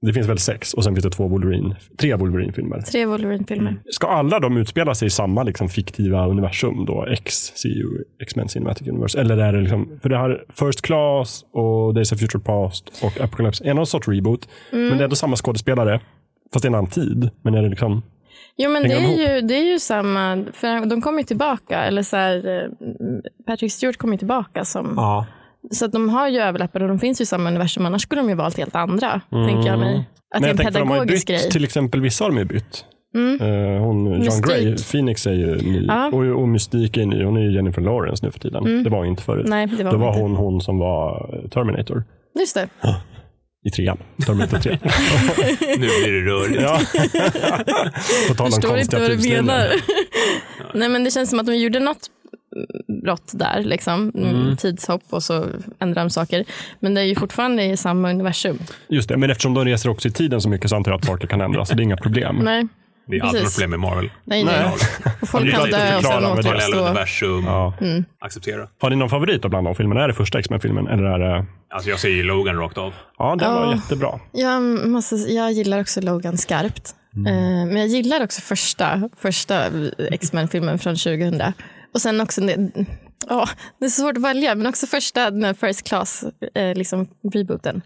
A: Det finns väl sex och sen finns det två Wolverine, tre Wolverine-filmer.
B: Tre Wolverine-filmer.
A: Ska alla de utspela sig i samma liksom, fiktiva universum? då XCU, X-Men Cinematic Universe? Eller är det liksom, för det här First Class och Days of Future Past och Apocalypse är någon sorts reboot.
B: Mm.
A: Men det är ändå samma skådespelare. Fast det är en annan tid. Men är det liksom,
B: Jo, men det
A: Hänger de
B: är, ju, det är ju samma. För de kommer ju tillbaka. Eller så här, eh, Patrick Stewart kommer ju tillbaka. Som,
A: ja.
B: Så att de har ju överlappar och de finns ju i samma universum. Annars skulle de ju valt helt andra. Tänker jag mig. Att
A: Mm. Men jag
B: det är en
A: tänkte de har ju bytt,
B: pedagogisk grej. Mm.
A: till exempel vissa har de ju bytt. Eh, hon, John
B: Mystik.
A: Grey, Phoenix är ju ny
B: Ja. Mm.
A: och, och Mystik är ny. Hon är ju Jennifer Lawrence nu för tiden. Det var ju inte förut.
B: Nej, det var
A: Då
B: hon
A: var
B: inte.
A: hon hon som var Terminator
B: Just det.
A: i trean. Terminator 3.
C: Nu blir det rörigt.
A: ja. På tal om
B: Förstår inte
A: konstiga typ
B: vad du
A: tidslinjer.
B: menar. Nej, men det känns som att de gjorde något brott där. Liksom. Mm, Tidshopp och så ändrar de saker. Men det är ju fortfarande i samma universum.
A: Just det, men eftersom de reser också i tiden så mycket så antar jag att saker kan ändras. Så det är inga problem.
B: Nej,
C: Det är alltid
B: Precis.
C: något problem med Marvel.
B: nej,
A: Nej.
B: nej. Och folk
A: Det är
B: kan
A: lätt att
B: dö och sen
A: förklara, men det är
C: Parallella
B: återuppstå.
C: universum.
A: Ja.
B: Mm.
C: Acceptera.
A: Har ni någon favorit då bland de filmerna? Är det första X-Men-filmen? Eller är det...
C: Alltså jag säger Logan rakt av.
A: Ja, den var
B: Ja.
A: jättebra.
B: Jag, måste, jag gillar också Logan skarpt. Eh, Men jag gillar också första, första X-Men-filmen från 2000. Och sen också, det- ja, det är så svårt att välja, men också första, den här First Class, eh, liksom rebooten.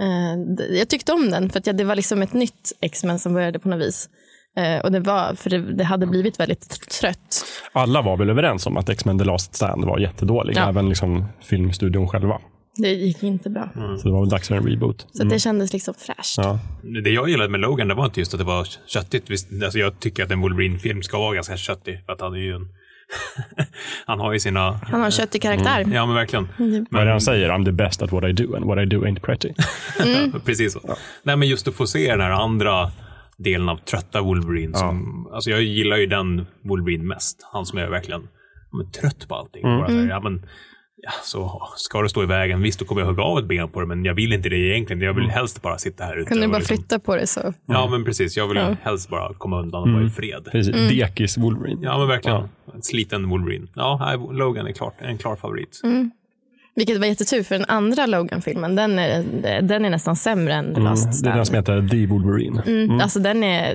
B: Eh, d- Jag tyckte om den, för att jag- det var liksom ett nytt X-Men som började på något vis. Eh, Och det var, för det, det hade blivit väldigt trött.
A: Alla var väl överens om att X-Men The Last Stand var jättedålig.
B: Ja.
A: Även liksom filmstudion själva.
B: Det gick inte bra.
A: Så det var väl dags för en reboot.
B: Så att det kändes liksom fräscht.
A: Mm. Ja.
C: Det jag gillade med Logan det var inte just att det var köttigt. Visst, alltså jag tycker att en Wolverine-film ska vara ganska köttig. För att han, är ju en han har ju sina...
B: Han har en köttig karaktär.
C: Ja, men verkligen.
A: Vad är det han säger? I'm the best at what I do and what I do ain't
B: Mm.
A: pretty.
C: Ja, precis så. Nej, men just att få se den här andra delen av trötta Wolverine. Som, alltså jag gillar ju den Wolverine mest. Han som är verkligen ja, men, trött på allting. Bara
B: Mm.
C: så här, ja, men, ja, så ska det stå i vägen, visst då kommer jag hugga av ett ben på det, men jag vill inte det egentligen. Jag vill helst bara sitta här ute.
B: Kunde du
C: och
B: bara
C: liksom-
B: flytta på det så
C: Ja, men precis. Jag vill helst bara komma undan och vara i fred.
A: Precis. Dekis Wolverine.
C: Mm. Ja, men verkligen. En sliten Wolverine. Ja, här, Logan är klart, en klar favorit.
B: Mm. Vilket var jättetur, för den andra Logan-filmen, den är, den är nästan sämre än The Last
A: Mm, Det är
B: Stand.
A: den som heter The Wolverine.
B: Mm, Alltså den är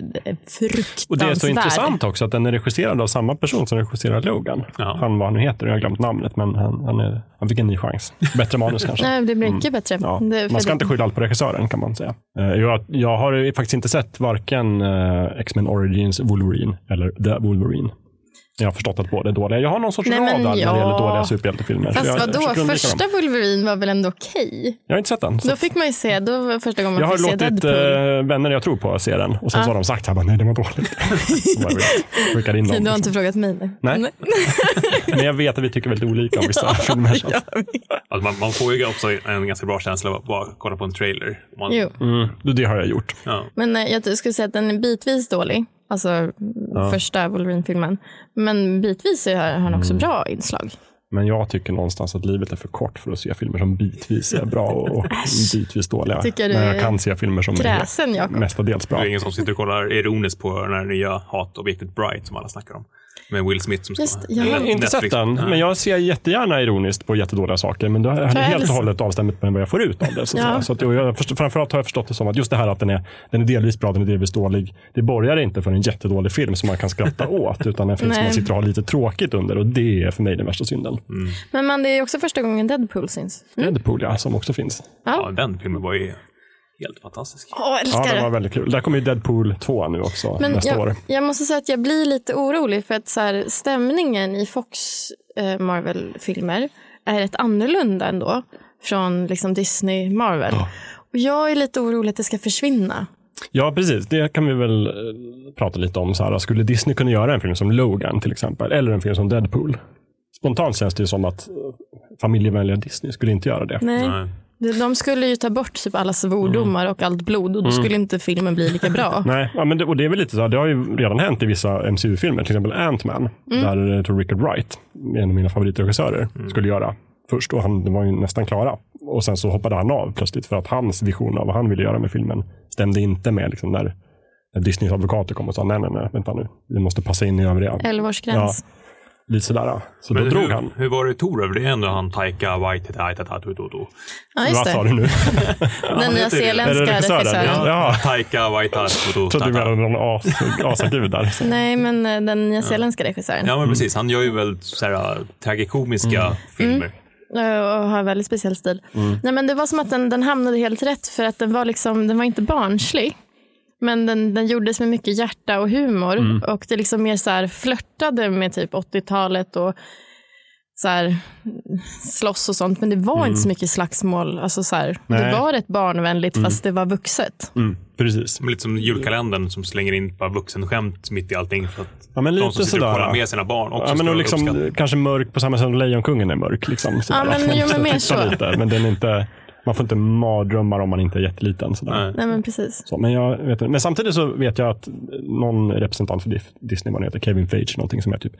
B: fruktansvärd.
A: Och det är så intressant också att den är regisserad av samma person som regisserar Logan.
C: Ja.
A: Han vad han nu heter, jag har glömt namnet, men han, han, är, han fick en ny chans. Bättre manus kanske.
B: Nej, det blir mycket bättre.
A: Mm. Ja.
B: Det, för
A: Man ska
B: det-
A: inte skylla allt på regissören kan man säga. Eh, Jag, jag har ju faktiskt inte sett varken eh, X-Men Origins Wolverine eller The Wolverine. Jag har förstått att båda är dåliga. Jag har någon sorts
B: Nej, men
A: radar när det gäller
B: ja.
A: dåliga superhjältefilmer. så
B: Fast
A: jag- jag försöker
B: vadå,
A: undvika dem.
B: första Wolverine var väl ändå okej?
A: Jag har inte sett den. så
B: Då fick man ju se, då var det första gången
A: Jag
B: man
A: har
B: fick se
A: låtit
B: Deadpool.
A: eh, vänner jag tror på se den och sen så har de sagt så här, bara, nej det var dåligt. Så bara, vet, skickar in
B: Du
A: dem.
B: har inte frågat mig? Nej.
A: Nej. Men jag vet att vi tycker väldigt olika om vissa filmer. så att-
C: Alltså man, man får ju också en ganska bra känsla av att bara kolla på en trailer. Man,
B: Jo.
A: Mm, det har jag gjort.
C: Ja.
B: Men eh, jag skulle säga att den är bitvis dålig. Alltså mm, första Wolverine-filmen. Men bitvis är- har han
A: Mm.
B: också bra inslag.
A: Men jag tycker någonstans att livet är för kort för att se filmer som bitvis är bra och, och bitvis dåliga.
B: Tycker du
A: Men jag
B: är
A: kan se filmer som
B: kräsen,
A: är
B: Jakob?
A: mestadels bra.
C: Det är ingen som sitter och kollar ironiskt på den här nya hatobjektet Bright som alla snackar om. Med Will Smith som ska
B: Just det, ja.
A: Jag har
C: Eller
A: inte sett
C: Netflix.
A: den,
C: Nej.
A: men jag ser jättegärna ironiskt på jättedåliga saker. Men det är
B: jag
A: helt
B: älskar-
A: och hållet avstämt med vad jag får ut av det. Så att
B: Ja.
A: säga. så att jag, jag förstår, framförallt har jag förstått det som att just det här att den är, den är delvis bra, den är delvis dålig. Det borgar inte för en jättedålig film som man kan skratta åt, utan en film som
B: Nej.
A: man sitter och har lite tråkigt under. Och det är för mig den värsta synden.
B: Men man, det är också första gången Deadpool syns.
A: Deadpool, ja, som också finns.
C: Ja, den filmen var ju helt fantastisk.
B: Åh, jag
A: Ja,
B: älskar
A: den
B: det.
A: var väldigt kul. Där kommer ju Deadpool 2 nu också
B: Men
A: nästa
B: jag,
A: år.
B: jag måste säga att jag blir lite orolig för att så här, stämningen i Fox eh, Marvel-filmer är rätt annorlunda ändå från liksom, Disney Marvel. Och jag är lite orolig att det ska försvinna.
A: Ja, precis. Det kan vi väl eh, prata lite om. Så här. Skulle Disney kunna göra en film som Logan till exempel, eller en film som Deadpool? Spontant känns det ju som att eh, familjevänliga Disney skulle inte göra det.
B: Nej.
C: Nej.
B: De, de skulle ju ta bort typ alla svordomar
A: Mm.
B: och allt blod och då skulle inte filmen bli lika bra.
A: Nej, ja, men det, och det är väl lite så här, det har ju redan hänt i vissa
B: Mm.
A: MCU-filmer, till exempel Ant-Man, där eh, jag tror Richard Wright, en av mina favoritregissörer, skulle göra först och han, de var ju nästan klara. Och sen så hoppade han av plötsligt för att hans vision av vad han ville göra med filmen stämde inte med liksom när, när Disneys advokater kom och sa nej, nej, nej, vänta nu, vi måste passa in i övriga.
B: Elvaårsgräns.
A: Lite sådär. Så då
C: Men
A: drog
C: hur,
A: han.
C: Hur var det i Tor? Det är ändå han Taika Waititaitatatututu.
B: Ja, just
A: Vad sa du
B: det.
A: nu?
B: Den
C: det är det.
A: Är det
B: nyzeeländska
A: regissören?
B: regissören.
A: Ja.
C: Taika Waititaitatatututu.
A: Jag trodde du menade någon as- asagud där.
B: Nej, men eh, den nyzeeländska regissören.
C: Ja,
A: Mm.
C: men precis. Han gör ju väl så här, äh, tragikomiska filmer.
B: Eh, och har en väldigt speciell stil.
C: Mm.
B: Nej, men det var som att den, den hamnade helt rätt för att den var, liksom, den var inte barnslig. Men den, den gjordes med mycket hjärta och humor
C: Mm.
B: och det liksom mer så här flörtade med typ 80-talet och så här, slåss och sånt. Men det var
C: Mm.
B: inte så mycket slagsmål. Alltså så här, det
A: Nej.
B: var rätt barnvänligt fast det var vuxet.
A: Mm, precis.
C: Men Lite som julkalendern som slänger in bara vuxenskämt mitt i allting. För att
A: Ja, men
C: de
A: lite
C: som sitter och
A: sådär.
C: kollar med sina barn också
A: Ja, men
C: ska
A: och
C: uppskatta.
A: liksom, kanske mörk på samma sätt som Lejonkungen är mörk. Liksom, sådär.
B: Ja, men-
A: Man
B: jo,
A: måste
B: men mer
A: titta
B: så.
A: Lite, men den är inte, man får inte mardrömmar om man inte är jätteliten. Sådär.
C: Nej.
B: Nej, men precis.
A: Så, men, jag vet, inte. men samtidigt så vet jag att någon representant för Dis- Disney, vad han heter, Kevin Feige, någonting som är typ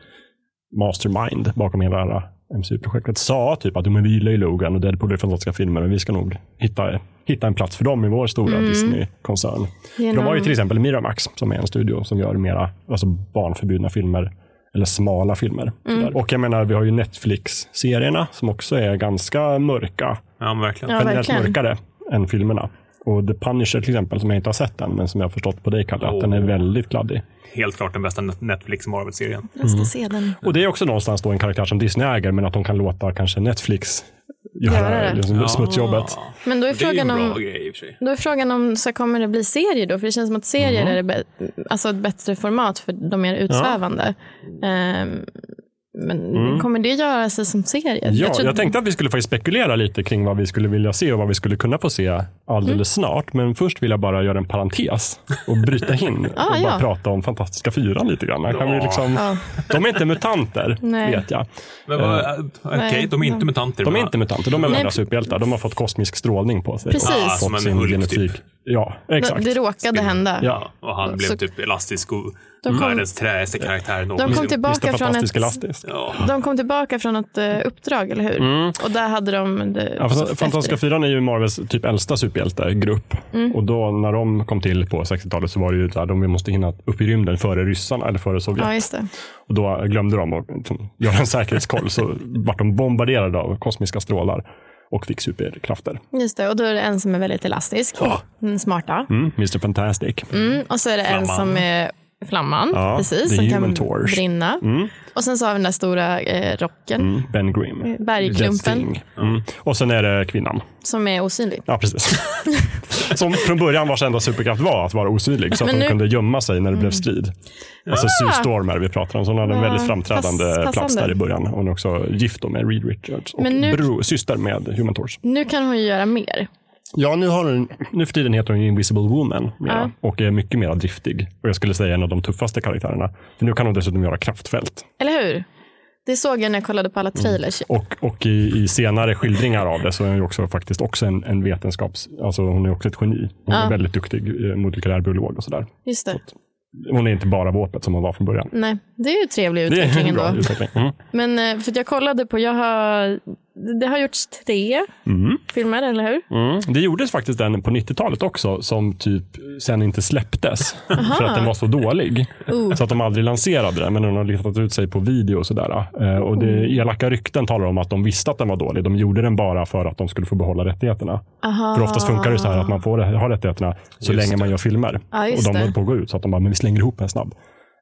A: mastermind bakom hela det här eh, MCU-projektet, sa typ att "Jo, men vi gillar ju Logan och Deadpool är fantastiska filmer och vi ska nog hitta, hitta en plats för dem i vår stora Disney-koncern. För De har ju till exempel Miramax som är en studio som gör mera alltså barnförbjudna filmer eller smala filmer. sådär. Och jag menar, vi har ju Netflix-serierna som också är ganska mörka
C: Ja, men verkligen.
B: Ja.
A: generellt
B: verkligen.
A: mörkare än filmerna. Och The Punisher till exempel, som jag inte har sett än, men som jag har förstått på dig, Kalle, att den är
C: Åh.
A: väldigt kladdig.
C: Helt klart den bästa Net- Netflix Marvel-serien.
B: Jag ska
C: Mm.
B: se den.
A: Och det är också någonstans då en karaktär som Disney äger, men att de kan låta kanske Netflix göra
B: Göra det.
A: liksom,
C: Ja.
A: smutsjobbet.
B: Men då är
C: Det är ju en
B: frågan om...
C: bra grej i och för sig.
B: Då är frågan om så kommer det bli serier då? För det känns som att serier
A: Mm.
B: är det bä- alltså ett bättre format för de mer utsvävande. Ehm, men kommer det göra sig som serier?
A: Mm. Ja, jag,
B: tror-
A: tänkte att vi skulle faktiskt spekulera lite kring vad vi skulle vilja se och vad vi skulle kunna få se alldeles
B: Mm.
A: snart. Men först vill jag bara göra en parentes och bryta in
B: Ah,
A: och bara
B: ja.
A: prata om Fantastiska fyran lite grann. Här Kan vi
C: Ja.
A: liksom,
B: Ja.
A: De är inte mutanter,
B: Nej.
A: vet jag.
C: Men vad- eh, Okej,
B: nej.
C: de är inte mutanter.
A: Eh, De är
C: men-
A: inte mutanter, de är
B: Nej.
A: vanliga superhjältar. De har fått kosmisk strålning på sig.
B: Precis.
A: Och
B: Ah,
A: fått
C: som en
A: sin
C: Hulk,
A: genetik.
C: typ.
A: Ja, exakt.
B: Det råkade hända.
A: Ja.
C: Och han blev
B: Så-
C: typ elastisk och
B: kom-
C: världens träigaste karaktär
B: De kom,
C: någonsin.
A: Visst
B: tillbaka
A: är
B: från
A: fantastisk
B: ett,
A: elastisk.
C: Ja.
B: de kom tillbaka från ett eh, uppdrag, eller hur? Och där hade de... Det,
A: Mm. Ja,
B: alltså,
A: fast Fantastiska
B: efter
A: fyran är ju Marvels typ äldsta superhjältegrupp.
B: Mm.
A: Och då när de kom till på 60-talet så var det ju där de måste hinna upp i rymden före ryssarna eller före
B: det.
A: Sovjet.
B: Ja, just det.
A: Och då glömde de att liksom, göra en säkerhetskoll så vart de bombarderade av kosmiska strålar och fick superkrafter.
B: Just det. Och då är det en som är väldigt elastisk. Den smarta.
A: Mm, Mr Fantastic.
B: Mm, och så är det en
C: Flamman.
B: som är flamman,
A: Ja,
B: precis,
A: the
B: som kan
A: human torch.
B: brinna. Och sen så har vi den där stora eh, rocken,
A: Mm, ben Grimm. Jet
B: bergklumpen,
A: Sting. Mm. Och sen är det kvinnan.
B: som är osynlig.
A: Ja, precis. Som från början vars enda superkraft var att vara osynlig, så att
B: Men
A: de
B: nu- Mm.
A: kunde gömma sig när det blev strid. Alltså Sue Stormer vi pratar om, så hon hade en
B: Ja,
A: väldigt framträdande
B: Ah, pass-
A: plats
B: passande.
A: där i början. Hon är också gift då med Reed Richards och
B: Men nu-
A: bro, syster med Human Torch.
B: Nu kan hon ju göra mer.
A: Ja, nu, har hon, nu för tiden heter hon ju Invisible Woman
B: Ah.
A: mera, och är mycket mer driftig. Och jag skulle säga en av de tuffaste karaktärerna. För nu kan hon dessutom göra kraftfält.
B: Eller hur? Det såg jag när jag kollade på alla
A: Mm.
B: trailers.
A: Och, och i, i senare skildringar av det så är hon ju också faktiskt också en, en vetenskaps... Alltså hon är också ett geni. Hon
B: Ja.
A: är väldigt duktig eh, molekylär biolog och sådär.
B: Just det.
A: Hon är inte bara våpet som hon var från början.
B: Nej, det är ju trevlig
A: Det är
B: utveckling
A: en bra
B: ändå.
A: utveckling. Mm.
B: Men eh, för att jag kollade på, jag har, det har gjorts tre filmer, eller hur?
A: Mm. Det gjordes faktiskt en på 90-talet också som typ sen inte släpptes för att den var så dålig.
B: Oh.
A: Så att de aldrig lanserade den, men den har letat ut sig på video och sådär. Eh, Och
B: Oh.
A: det elaka rykten talar om att de visste att den var dålig. De gjorde den bara för att de skulle få behålla rättigheterna.
B: Aha.
A: För oftast funkar det så här att man får ha rättigheterna så
C: Just
A: länge man
C: det.
A: gör filmer.
B: Ja,
A: och
B: just
A: de
B: det.
A: höll på att gå ut, så att de bara, men vi slänger ihop en snabb.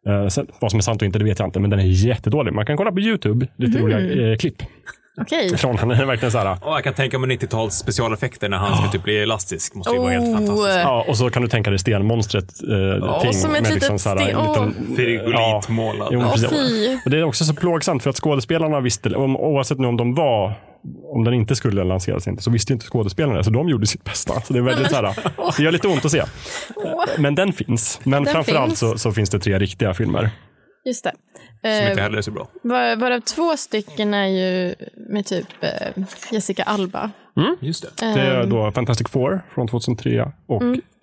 A: Eh, sen, vad som är sant och inte, det vet jag inte, men den är jättedålig. Man kan kolla på YouTube, lite
B: Mm.
A: roliga eh, klipp
B: Okej.
A: från den. Den är verkligen så här,
C: Och jag kan tänka mig 90-tals specialeffekter när han ska typ bli elastisk. Måste ju vara helt
B: Oh.
C: fantastiskt.
A: Ja, och så kan du tänka dig stenmonstret. Eh, ting,
B: som ett
A: med liksom
B: litet
A: så här,
B: sten-
A: en
C: åh.
A: ja,
C: Fyrgolitmålad.
A: jo,
C: Åh,
A: precis.
B: fy.
A: och Det är också så plågsamt för att skådespelarna visste, om, oavsett nu om de var om den inte skulle lanseras inte, så visste ju inte skådespelarna det, så de gjorde sitt bästa. Så det är väldigt så här, det gör lite ont att se. Men den finns. Men
B: Den
A: framförallt
B: finns.
A: så, så finns det tre riktiga filmer.
B: Just det.
C: Som
B: Eh,
C: inte heller är så bra.
B: Var- Varav två stycken är ju med typ eh, Jessica Alba.
C: Just det.
B: eh,
A: Det är
B: Ehm.
A: då Fantastic Four från 2003 och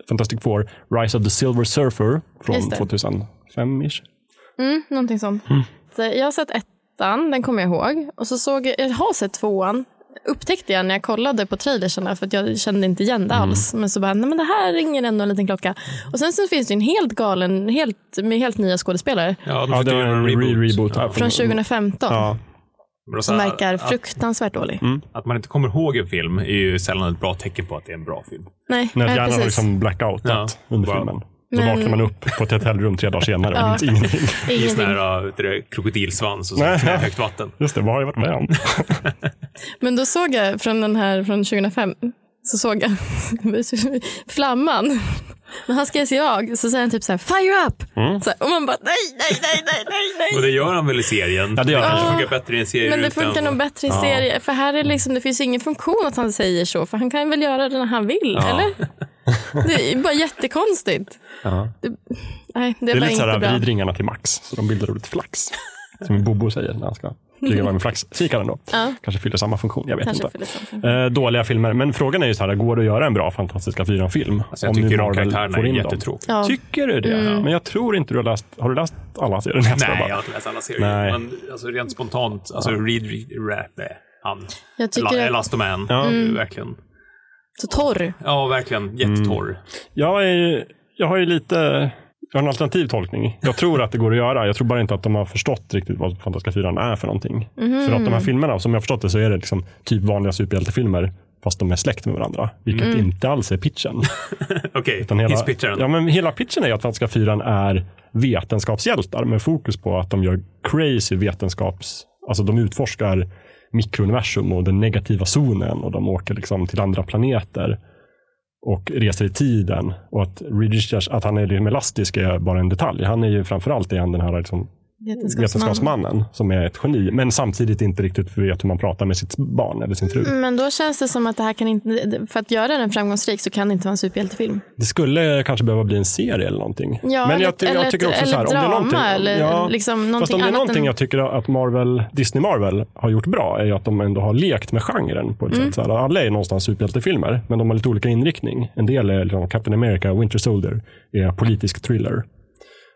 A: Fantastic Four Rise of the Silver Surfer
B: Mm. Just
A: från
B: det.
A: 2005-ish.
B: Mm, någonting sånt. Så jag har sett ettan, den kommer jag ihåg. Och så såg jag, jag har sett tvåan, upptäckte jag när jag kollade på trailersarna för att jag kände inte igen det alls. Men så bara, nej men det här ringer ändå en liten klocka. Och sen så finns det ju en helt galen, helt, med helt nya skådespelare
C: Ja, de
A: Ja, det
C: försökte
A: var
C: göra
A: en re- reboot. här.
B: från 2015
A: Mm. Ja.
C: Men då så
B: som
C: här,
B: verkar
C: att,
B: fruktansvärt dålig.
C: att man inte kommer ihåg en film är ju sällan ett bra tecken på att det är en bra film.
B: Nej,
A: När
B: nej,
A: hjärnan har
B: precis.
A: liksom blackoutat
C: Ja.
A: under
C: Wow.
A: filmen. Då
B: Men-
A: vaknar man upp på ett hotellrum tre dagar senare och
B: Ja.
A: minns ingenting.
C: I sån
B: Ingenting.
C: här äh, det är krokodilsvans och så
A: Nej.
C: högt vatten.
A: Just det, vad har jag varit med om?
B: Men då såg jag från den här från 2005 så såg jag flamman. När han ska ge sig jag så säger han typ så här fire up.
A: Mm.
B: Så här, och man bara nej, nej, nej, nej, nej,
C: Och
B: nej.
C: det gör han väl i serien?
A: Ja, det gör han.
C: kanske funkar bättre i en serie
B: Men det
C: utan-
B: funkar nog bättre i serie. För här är liksom, det finns ju ingen funktion att han säger så. För han kan väl göra det när han vill, eller? Det är bara jättekonstigt. Det, nej, det,
A: Det är
B: var
A: lite så
B: inte
A: här
B: bra.
A: vidringarna till Max. Så de bildar ordet flax. Som Bobo säger när han ska flyga iväg med flaxkikaren. då. Kanske fyller samma funktion, jag vet
B: Kanske
A: inte.
B: fyller samma
A: Eh, dåliga filmer, men frågan är ju så här, går det att göra en bra Fantastiska fyran-film?
C: Alltså, jag tycker de karaktärerna är
A: dem?
C: jättetråkiga.
B: Ja. Mm.
A: Tycker du det? Men jag tror inte du har läst, har du läst alla serier?
C: Nej, jag har inte läst alla serier.
A: Alltså, Nej.
C: Men alltså, rent spontant, alltså Reed Rap, han.
B: Jag tycker
C: La-
B: att- Mm.
C: Elastoman. Verkligen.
B: Så torr.
C: Ja, verkligen. Jättetorr.
A: Jag, är, jag har ju lite jag har en alternativ tolkning. Jag tror att det går att göra. Jag tror bara inte att de har förstått riktigt vad Fantastiska fyran är för någonting. För att de här filmerna, som jag har förstått det, så är det liksom typ vanliga superhjältefilmer, fast de är släkt med varandra. Vilket inte alls är pitchen.
C: Okej,
A: Utan hela,
C: hisspitcharen.
A: ja, men hela pitchen är ju att Fantastiska fyran är vetenskapshjältar med fokus på att de gör crazy vetenskaps... Alltså de utforskar mikrouniversum och den negativa zonen och de åker liksom till andra planeter och reser i tiden. Och att Ridgers, att han är liksom elastisk är bara en detalj. Han är ju framförallt är han den här liksom
B: Vetenskapsman.
A: vetenskapsmannen som är ett geni, men samtidigt inte riktigt vet hur man pratar med sitt barn eller sin fru.
B: Men då känns det som att det här kan inte, för att göra den framgångsrik så kan det inte vara en superhjältefilm.
A: Det skulle kanske behöva bli en serie eller någonting.
B: Ja,
A: men
B: eller-
A: jag, ty-
B: eller
A: jag tycker
B: ett-
A: också så här,
B: eller
A: om det är
B: drama,
A: någonting,
B: eller
A: ja,
B: liksom
A: fast
B: någonting
A: om det är
B: annat
A: någonting
B: än-
A: jag tycker att Marvel, Disney Marvel har gjort bra är ju att de ändå har lekt med genren. På ett
B: Mm.
A: sätt. Så här, alla är någonstans superhjältefilmer, men de har lite olika inriktning. En del är liksom Captain America, Winter Soldier, är politisk thriller.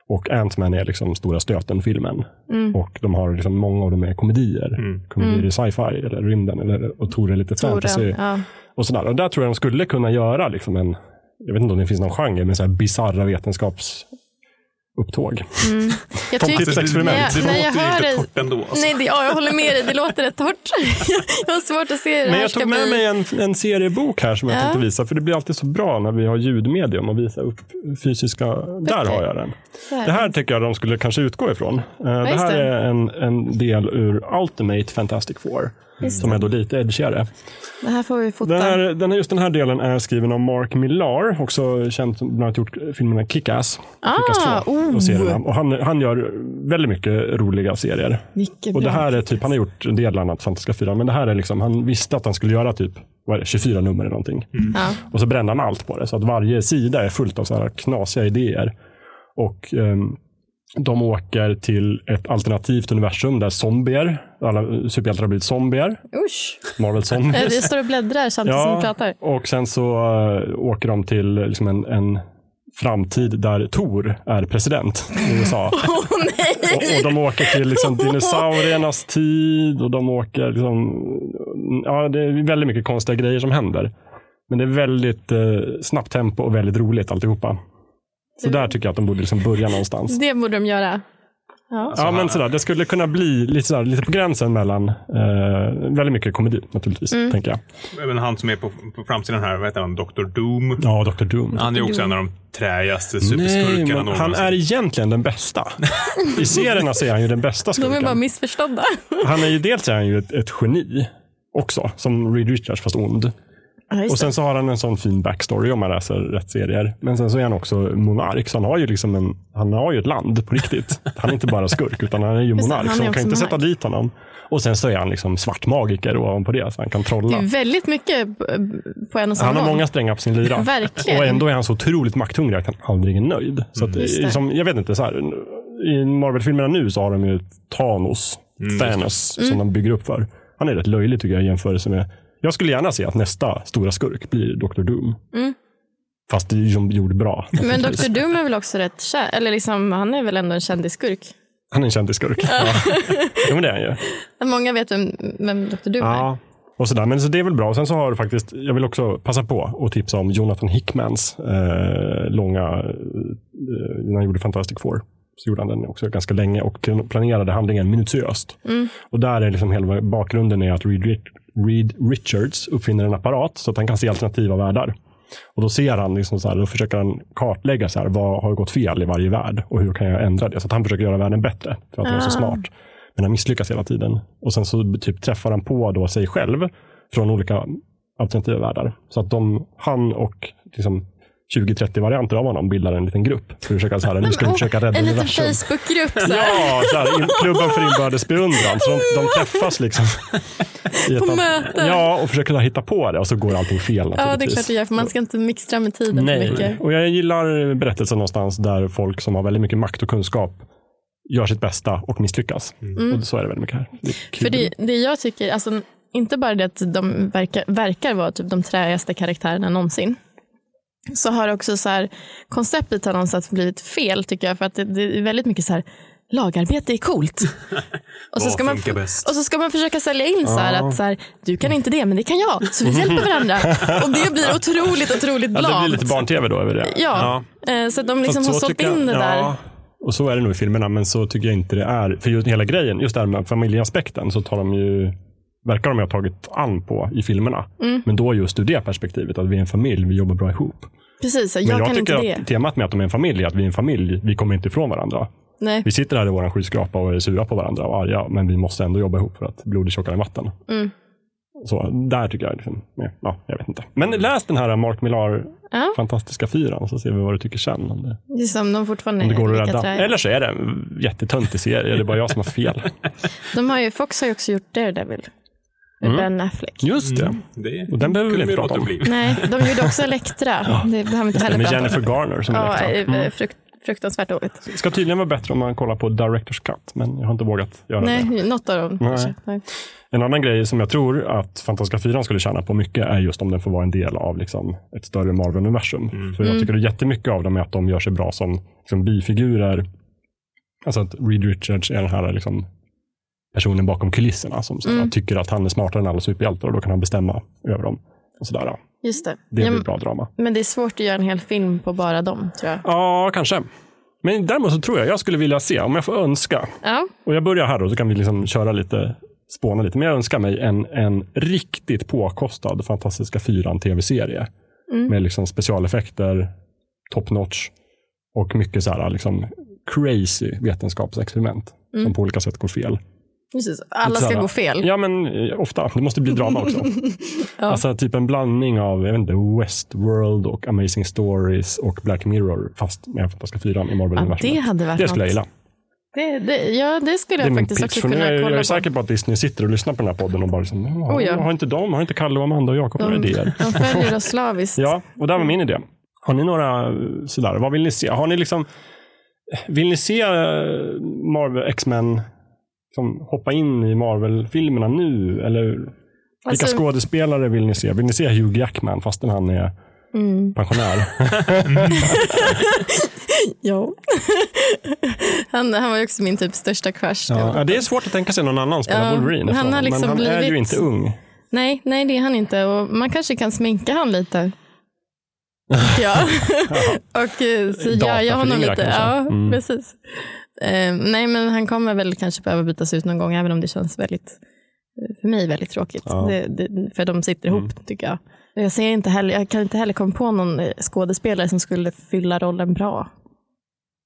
A: Och Ant-Man är liksom stora stöten-filmen.
B: Mm.
A: Och de har liksom, många av dem är komedier. Komedier i sci-fi eller rymden. Eller, och Tor är lite
B: Tror jag.
A: fantasy.
B: Mm. Ja.
A: Och, sådär. och där tror jag de skulle kunna göra liksom en, jag vet inte om det finns någon genre, men så här bisarra vetenskapsupptåg.
B: Jag
A: Som
B: tycker-
A: tidsexperiment.
B: Nej,
C: Alltså, Det
B: nej, jag
C: låter ju
B: hör
C: lite
B: dig.
C: torrt ändå. Alltså.
B: Nej, det, ja, jag håller med dig. Det låter rätt torrt. jag har svårt att se hur det
A: Men
B: här
A: jag
B: ska
A: tog med
B: bli.
A: mig en, en seriebok här som jag
B: Ja.
A: tänkte visa, för det blir alltid så bra när vi har ljudmedium och visa upp fysiska. Där har jag den. Det här tycker jag de skulle kanske utgå ifrån. Eh, Det
B: just
A: här
B: det.
A: är en, en del ur Ultimate Fantastic Four, som är då lite edgigare.
B: det här får vi fota.
A: Den här, den här, just den här delen är skriven av Mark Millar, också känd som bland annat gjort filmerna Kick-Ass.
B: Ah,
A: Kick-Ass 2 och
B: oh.
A: serierna. Och han, han gör väldigt mycket roliga serier.
B: Mycket
A: Och det
B: bra.
A: här är typ, han har gjort en del annat, Fantastiska fyran, men det här är liksom, han visste att han skulle göra typ vad är det, 24 nummer eller någonting.
B: Mm. Ja.
A: Och så brände han allt på det, så att varje sida är fullt av så här knasiga idéer. Och ehm, de åker till ett alternativt universum där zombier, alla superhjältar har blivit zombier,
B: Usch.
A: Marvel
B: Eh,
A: Zombies.
B: Jag står och bläddrar samtidigt som du pratar.
A: Och sen så eh, åker de till liksom en, en framtid där Tor är president i USA.
B: Åh nej!
A: Och, och de åker till liksom dinosauriernas tid och de åker liksom, ja, det är väldigt mycket konstiga grejer som händer. Men det är väldigt eh, snabbt tempo och väldigt roligt alltihopa. Så där tycker jag att de borde liksom börja någonstans.
B: Det borde de göra. Ja.
A: Ja,
C: alltså,
A: men sådär, det skulle kunna bli lite, sådär, lite på gränsen mellan, eh, väldigt mycket komedi naturligtvis,
B: Mm.
A: tänker jag.
C: Men han som är på, på framsidan här, vad heter han? Dr. Doom.
A: Ja, Dr. Doom.
C: Han är också en av de träigaste
A: Nej,
C: superskurkarna
A: men han
C: någonsin.
A: är egentligen den bästa. I serierna så är han ju den bästa
B: De är bara
A: skurken.
B: missförstådda.
A: Han är ju dels är han ju ett, ett geni också, som Reed Richards fast ond.
B: Ja, just
A: Och sen så har han en sån fin backstory om man läser rätt serier. Men sen så är han också monark, så han har ju, liksom en, han har ju ett land på riktigt. Han är inte bara skurk, utan han är ju
B: det,
A: monark,
B: han är
A: så de
B: också
A: kan inte
B: monark.
A: sätta dit honom. Och sen så är han liksom svartmagiker ovanpå det, så han kan
B: det
A: trolla.
B: är väldigt mycket eh, på en och samma
A: Han har
B: gång.
A: många strängar på sin lyra.
B: Verkligen.
A: Och ändå är han så otroligt makthungrig att han aldrig är nöjd. Så att, eh,
B: Just det.
A: som, jag vet inte, så här, i Marvel-filmerna nu så har de ju Thanos, Thanos
B: Mm.
A: som de bygger upp för. Han är rätt löjlig tycker jag i jämförelse med... Jag skulle gärna se att nästa stora skurk blir Dr. Doom.
B: Mm.
A: Fast det är ju som gjorde bra.
B: Men
A: naturligtvis.
B: Dr. Doom är väl också rätt känd, eller liksom, han är väl ändå en kändisskurk.
A: Han är en kändisskurk. Ja. jo, men det är han ju.
B: Många vet vem, vem Dr. Doom är.
A: Ja. Och sådär. Men så det är väl bra. Sen så har du faktiskt, jag vill också passa på att tipsa om Jonathan Hickmans eh, långa, eh, när han gjorde Fantastic Four. Så gjorde han den också ganska länge och planerade handlingen minutiöst. Och där är liksom hela bakgrunden är att Reed, Ri- Reed Richards uppfinner en apparat så att han kan se alternativa världar. Och då ser han, liksom så här, då försöker han kartlägga så här, vad har gått fel i varje värld och hur kan jag ändra det? Så att han försöker göra världen bättre för att han är så
B: Ah.
A: smart. Men han misslyckas hela tiden. Och sen så typ träffar han på då sig själv från olika alternativa världar. Så att de, han och liksom 20-30 varianter av honom bildar en liten grupp. För att försöka så här, nu ska vi
B: åh,
A: försöka rädda
B: en liten
A: universum.
B: Facebookgrupp. Så här.
A: Ja, så här, in- klubben för inbördes beundran. Så de, de träffas liksom. i ett
B: På
A: an-
B: möten.
A: Ja, och försöker hitta på det. Och så går allting fel
B: ja, det är klart
A: naturligtvis.
B: du gör. För man ska inte mixtra med tiden för
A: Nej,
B: mycket.
A: och jag gillar berättelsen någonstans där folk som har väldigt mycket makt och kunskap gör sitt bästa och misslyckas. Och så är det väldigt mycket här. Det är kul.
B: Mm. För det, det jag tycker, alltså, inte bara det att de verkar, verkar vara typ de träigaste karaktärerna någonsin. Så har också så här, konceptet har någonstans blivit fel tycker jag. För att det, det är väldigt mycket så här, lagarbete är coolt. Och så,
C: Vad
B: ska man,
C: funkar bäst?
B: och så ska man försöka sälja in så här att så här, du kan inte det men det kan jag. Så vi hjälper varandra. Och det blir otroligt, otroligt
A: Ja,
B: blamt.
A: det blir lite barn-tv då över det.
B: Ja, eh, så att de liksom
A: Fast
B: har
A: så
B: sålt
A: tycker jag-
B: in det där.
A: Ja, och så är det nog i filmerna, men så tycker jag inte det är. För just hela grejen, just det här med familjeaspekten, så tar de ju, verkar de ju ha tagit an på i filmerna.
B: Mm.
A: Men då just ur det perspektivet, att vi är en familj, vi jobbar bra ihop.
B: Precis, jag,
A: Men jag,
B: kan inte
A: tycker
B: det.
A: att temat med att de är en familj, är att vi är en familj, vi kommer inte ifrån varandra.
B: Nej.
A: Vi sitter här i våran skyskrapa och är sura på varandra och arga, men vi måste ändå jobba ihop för att blod är tjockare än vatten.
B: Mm.
A: Så där tycker jag, liksom, ja, jag vet inte. Men läs den här Mark Millar
B: Ja.
A: fantastiska fyran, så ser vi vad du tycker sen. Om det.
B: Det är som liksom, de fortfarande
A: Om det går
B: Eh, är
A: att
B: lika
A: rädda.
B: träiga.
A: Eller så är det en jättetöntig serie. Det är bara jag som har fel.
B: De har ju, Fox har ju också gjort Daredevil. Med
A: Mm.
B: Ben Affleck.
A: Just det.
C: Det
A: Och den behöver vi
C: kunde
A: inte prata
C: låta
A: om.
C: bli.
B: Nej, de gjorde också Elektra. Det behöver vi inte heller
A: Med
B: prata om.
A: Jennifer Mm. Garner som
B: Ja,
A: ja,
B: eh, frukt, fruktansvärt dåligt.
A: Ska tydligen vara bättre om man kollar på Directors Cut, men jag har inte vågat göra
B: Nej,
A: det.
B: något av dem. kanske. Nej.
A: En annan grej som jag tror att Fantastiska fyran skulle tjäna på mycket är just om den får vara en del av liksom ett större Marvel-universum. För
B: Mm.
A: jag tycker att jättemycket av dem är att de gör sig bra som liksom bifigurer. Alltså att Reed Richards är den här liksom personen bakom kulisserna som så här,
B: Mm.
A: tycker att han är smartare än alla superhjältar och då kan han bestämma över dem. Och sådär. ja.
B: Just det.
A: Det
B: Ja,
A: blir bra drama.
B: men det är svårt att göra en hel film på bara dem, tror jag.
A: Ja, kanske. Men däremot så tror jag jag skulle vilja se, om jag får önska.
B: Ja,
A: Och jag börjar här då, så kan vi liksom köra lite, spåna lite. Men jag önskar mig en, en riktigt påkostad Fantastiska Fyran tv-serie. Med liksom specialeffekter, top notch och mycket så här liksom crazy vetenskapsexperiment som på olika sätt går fel.
B: precis. Alla ska
A: Sådana-
B: gå fel.
A: Ja, men eh, ofta. Det måste bli drama också. Alltså typ en blandning av jag vet inte, Westworld och Amazing Stories och Black Mirror, fast med Fantastiska Fyran i
B: Ja,
A: Marvel-universumet.
B: det hade varit
A: det skulle jag
B: något.
A: gilla.
B: Det, det, ja, det skulle jag
A: Det är min
B: faktiskt
A: pitch.
B: också
A: För nu
B: kunna
A: är, jag
B: kolla
A: är
B: på.
A: säker på att Disney sitter och lyssnar på den här podden och bara liksom,
B: Oh,
A: oh,
B: ja. Mm.
A: har inte de, har inte Kalle och Amanda och Jakob några
B: de,
A: idéer?
B: de följer oss slaviskt.
A: Ja, och
B: Mm.
A: där var min idé. Har ni några eh, sådär, vad vill ni se? Har ni liksom, vill ni se eh, Marvel, X-Men, liksom, hoppa in i Marvel-filmerna nu? Eller vilka
B: Alltså-
A: skådespelare vill ni se? Vill ni se Hugh Jackman fastän han är
B: Mm.
A: pensionär?
B: Ja. han, han var ju också min typ största crush.
A: Ja. det är svårt att tänka sig någon annan spela
B: Ja,
A: Wolverine,
B: han
A: efter
B: har
A: honom,
B: liksom
A: men han är ju
B: blivit-
A: inte ung.
B: Nej, nej, det är han inte. Och man kanske kan sminka han lite. tycker jag. och eh, så gör jag honom
A: Dataföryngra
B: lite.
A: kanske.
B: Ja,
A: Mm.
B: precis. Eh, nej, men han kommer väl kanske behöva bytas ut någon gång, även om det känns väldigt, eh, för mig väldigt tråkigt.
A: Ja. Mm.
B: Det, det, för de sitter ihop, tycker jag. Och Jag, ser inte heller, jag kan inte heller komma på någon eh, skådespelare som skulle fylla rollen bra.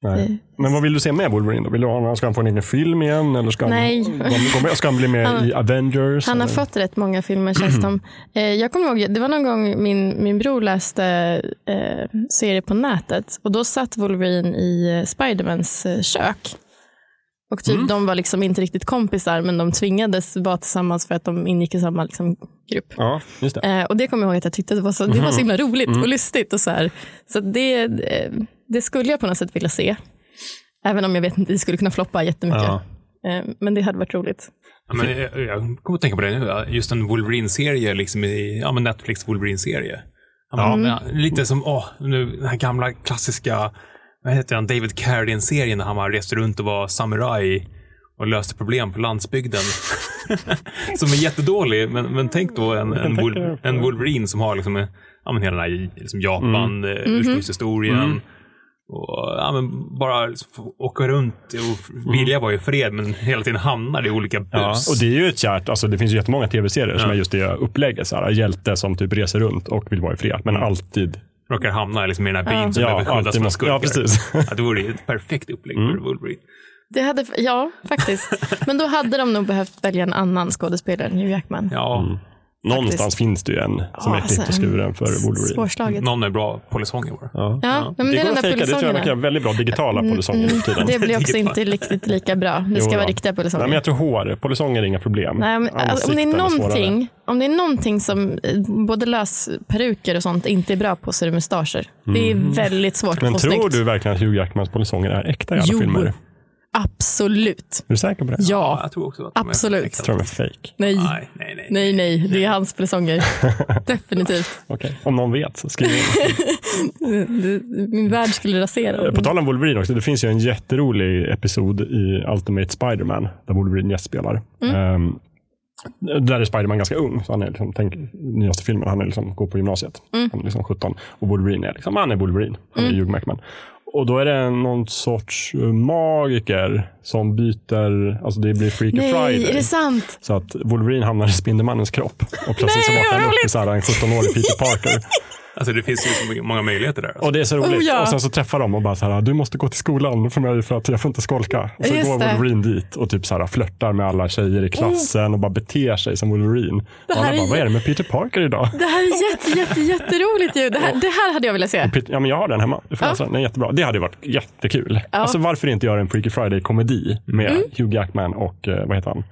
A: Nej. Men vad vill du se med Wolverine då? Vill du ha, ska han få en egen film igen? Eller ska,
B: Nej.
A: Han, gå med- ska han bli med
B: Han-
A: i Avengers?
B: Han har
A: eller?
B: fått rätt många filmer känns det som. Eh, jag kommer ihåg, det var någon gång min, min bror läste eh, serie på nätet och då satt Wolverine i eh, Spidermans eh, kök. Och typ de var liksom inte riktigt kompisar men de tvingades vara tillsammans för att de ingick i samma liksom, grupp.
A: Ja, just det.
B: Eh, och det kommer jag ihåg att jag tyckte det var så, det var så himla roligt och lustigt. Och så här. så det, eh, det skulle jag på något sätt vilja se. Även om jag vet inte, det skulle kunna floppa jättemycket.
A: Ja.
B: Eh, men det hade varit roligt.
C: Ja, men, jag, jag kommer att tänka på det nu. Just en Wolverine-serie, liksom i, ja, men Netflix Wolverine-serie. Ja,
A: Mm.
C: men, ja, Lite som åh, nu, den här gamla klassiska vad heter han, David Carradine-serien när han var- reste runt och var samuraj. och löste problem på landsbygden. som är jättedålig, men, men tänk då en, en,
A: tänka
C: Wol-
A: på-
C: en Wolverine som har liksom, eh, ja, men hela den här liksom
A: Mm.
C: Japan, eh, ursprungshistorien. Och, ja, men bara liksom få åka runt och vilja vara i fred men hela tiden hamnar i olika bus.
A: Ja, och det är ju ett kärt, alltså det finns ju jättemånga tv-serier som är just det upplägget. Så här, hjälte som typ reser runt och vill vara i fred, men alltid.
C: Råkar hamna liksom i den här byn som
A: Ja,
C: behöver skyddas
A: alltid
C: från
A: måste-
C: skurkar.
A: ja, precis. Mm.
C: Ja, det vore ju ett perfekt upplägg för Wolverine.
B: Det hade, ja, faktiskt. Men då hade de nog behövt välja en annan skådespelare än Hugh Jackman.
C: Ja,
A: Någonstans
B: Faktiskt.
A: finns det ju en som är
B: alltså,
A: klippt och skuren för Wolverine. Mm,
B: Svårslaget.
C: någon är bra polisonger bara.
A: Ja.
B: Ja, men det,
A: det
B: är
A: går
B: de
A: att
B: där
A: fejka. Det tror jag man kan
B: polisonger.
A: göra väldigt bra digitala polisonger nu för tiden.
B: Mm, Det blir också
C: Digitala.
B: inte riktigt lika bra. Det ska
A: Jo
B: vara
A: då.
B: riktiga polisonger.
A: Nej, men jag tror hår, polisonger är inga problem.
B: Nej, men, alltså, om, det är
A: Ansikten svårare.
B: någonting, om det är någonting som eh, både lösperuker och sånt inte är bra på så är det mustascher. Det är väldigt svårt
A: Mm. Men
B: att få
A: tror
B: snyggt.
A: du verkligen att Hugh Jackmans polisonger är äkta i alla
B: Jo.
A: filmer? Ah, Är
B: Absolut.
A: du säker på det?
B: Ja.
C: jag tror också att de är
B: Absolut.
A: Jag
C: äkta.
A: tror de är fake.
B: Nej.
C: Nej, nej, nej.
B: Nej, nej. Det är hans polisonger. Definitivt.
A: Okej. Om någon vet, så skriv in.
B: Du- Min värld skulle rasera.
A: Eh, På tal om Wolverine också, det finns ju en jätterolig episod i Ultimate Spider-Man där Wolverine gästspelar.
B: Mm.
A: Ehm, där är Spiderman ganska ung, så han är liksom, tänk, nyaste filmen, han är liksom, går på gymnasiet.
B: Mm.
A: Han är liksom 17 och Wolverine är liksom, han är Wolverine, han är Hugh Jackman. Och då är det någon sorts eh, magiker som byter, alltså det blir Freaky Friday.
B: Nej, är det sant?
A: Så att Wolverine hamnar i Spindelmannens kropp. Och plötsligt så
B: Nej,
A: vaknar
B: vad
A: han upp i
B: roligt!
A: så här en 17-årig Peter Parker.
C: Alltså det finns ju så mycket- många möjligheter där. Alltså.
A: Och det är så roligt.
B: Oh, ja.
A: Och sen så träffar de och bara så här, du måste gå till skolan för mig för att jag får inte skolka. Och så
B: Just
A: går
B: det. Oh.
A: Wolverine dit och typ så här flörtar med alla tjejer i klassen och bara beter sig som Wolverine. Och
B: här
A: alla bara,
B: är-
A: vad är det med Peter Parker idag?
B: Det här är jätte, jätte, jätteroligt ju. Det här, det här hade jag velat se.
A: Peter- Ja, men jag har den hemma. Du får läsa den. Den är jättebra. Det hade ju varit jättekul.
B: Ja. Mm.
A: Alltså, varför inte göra en Freaky Friday-komedi med Hugh Jackman och, eh, vad heter han,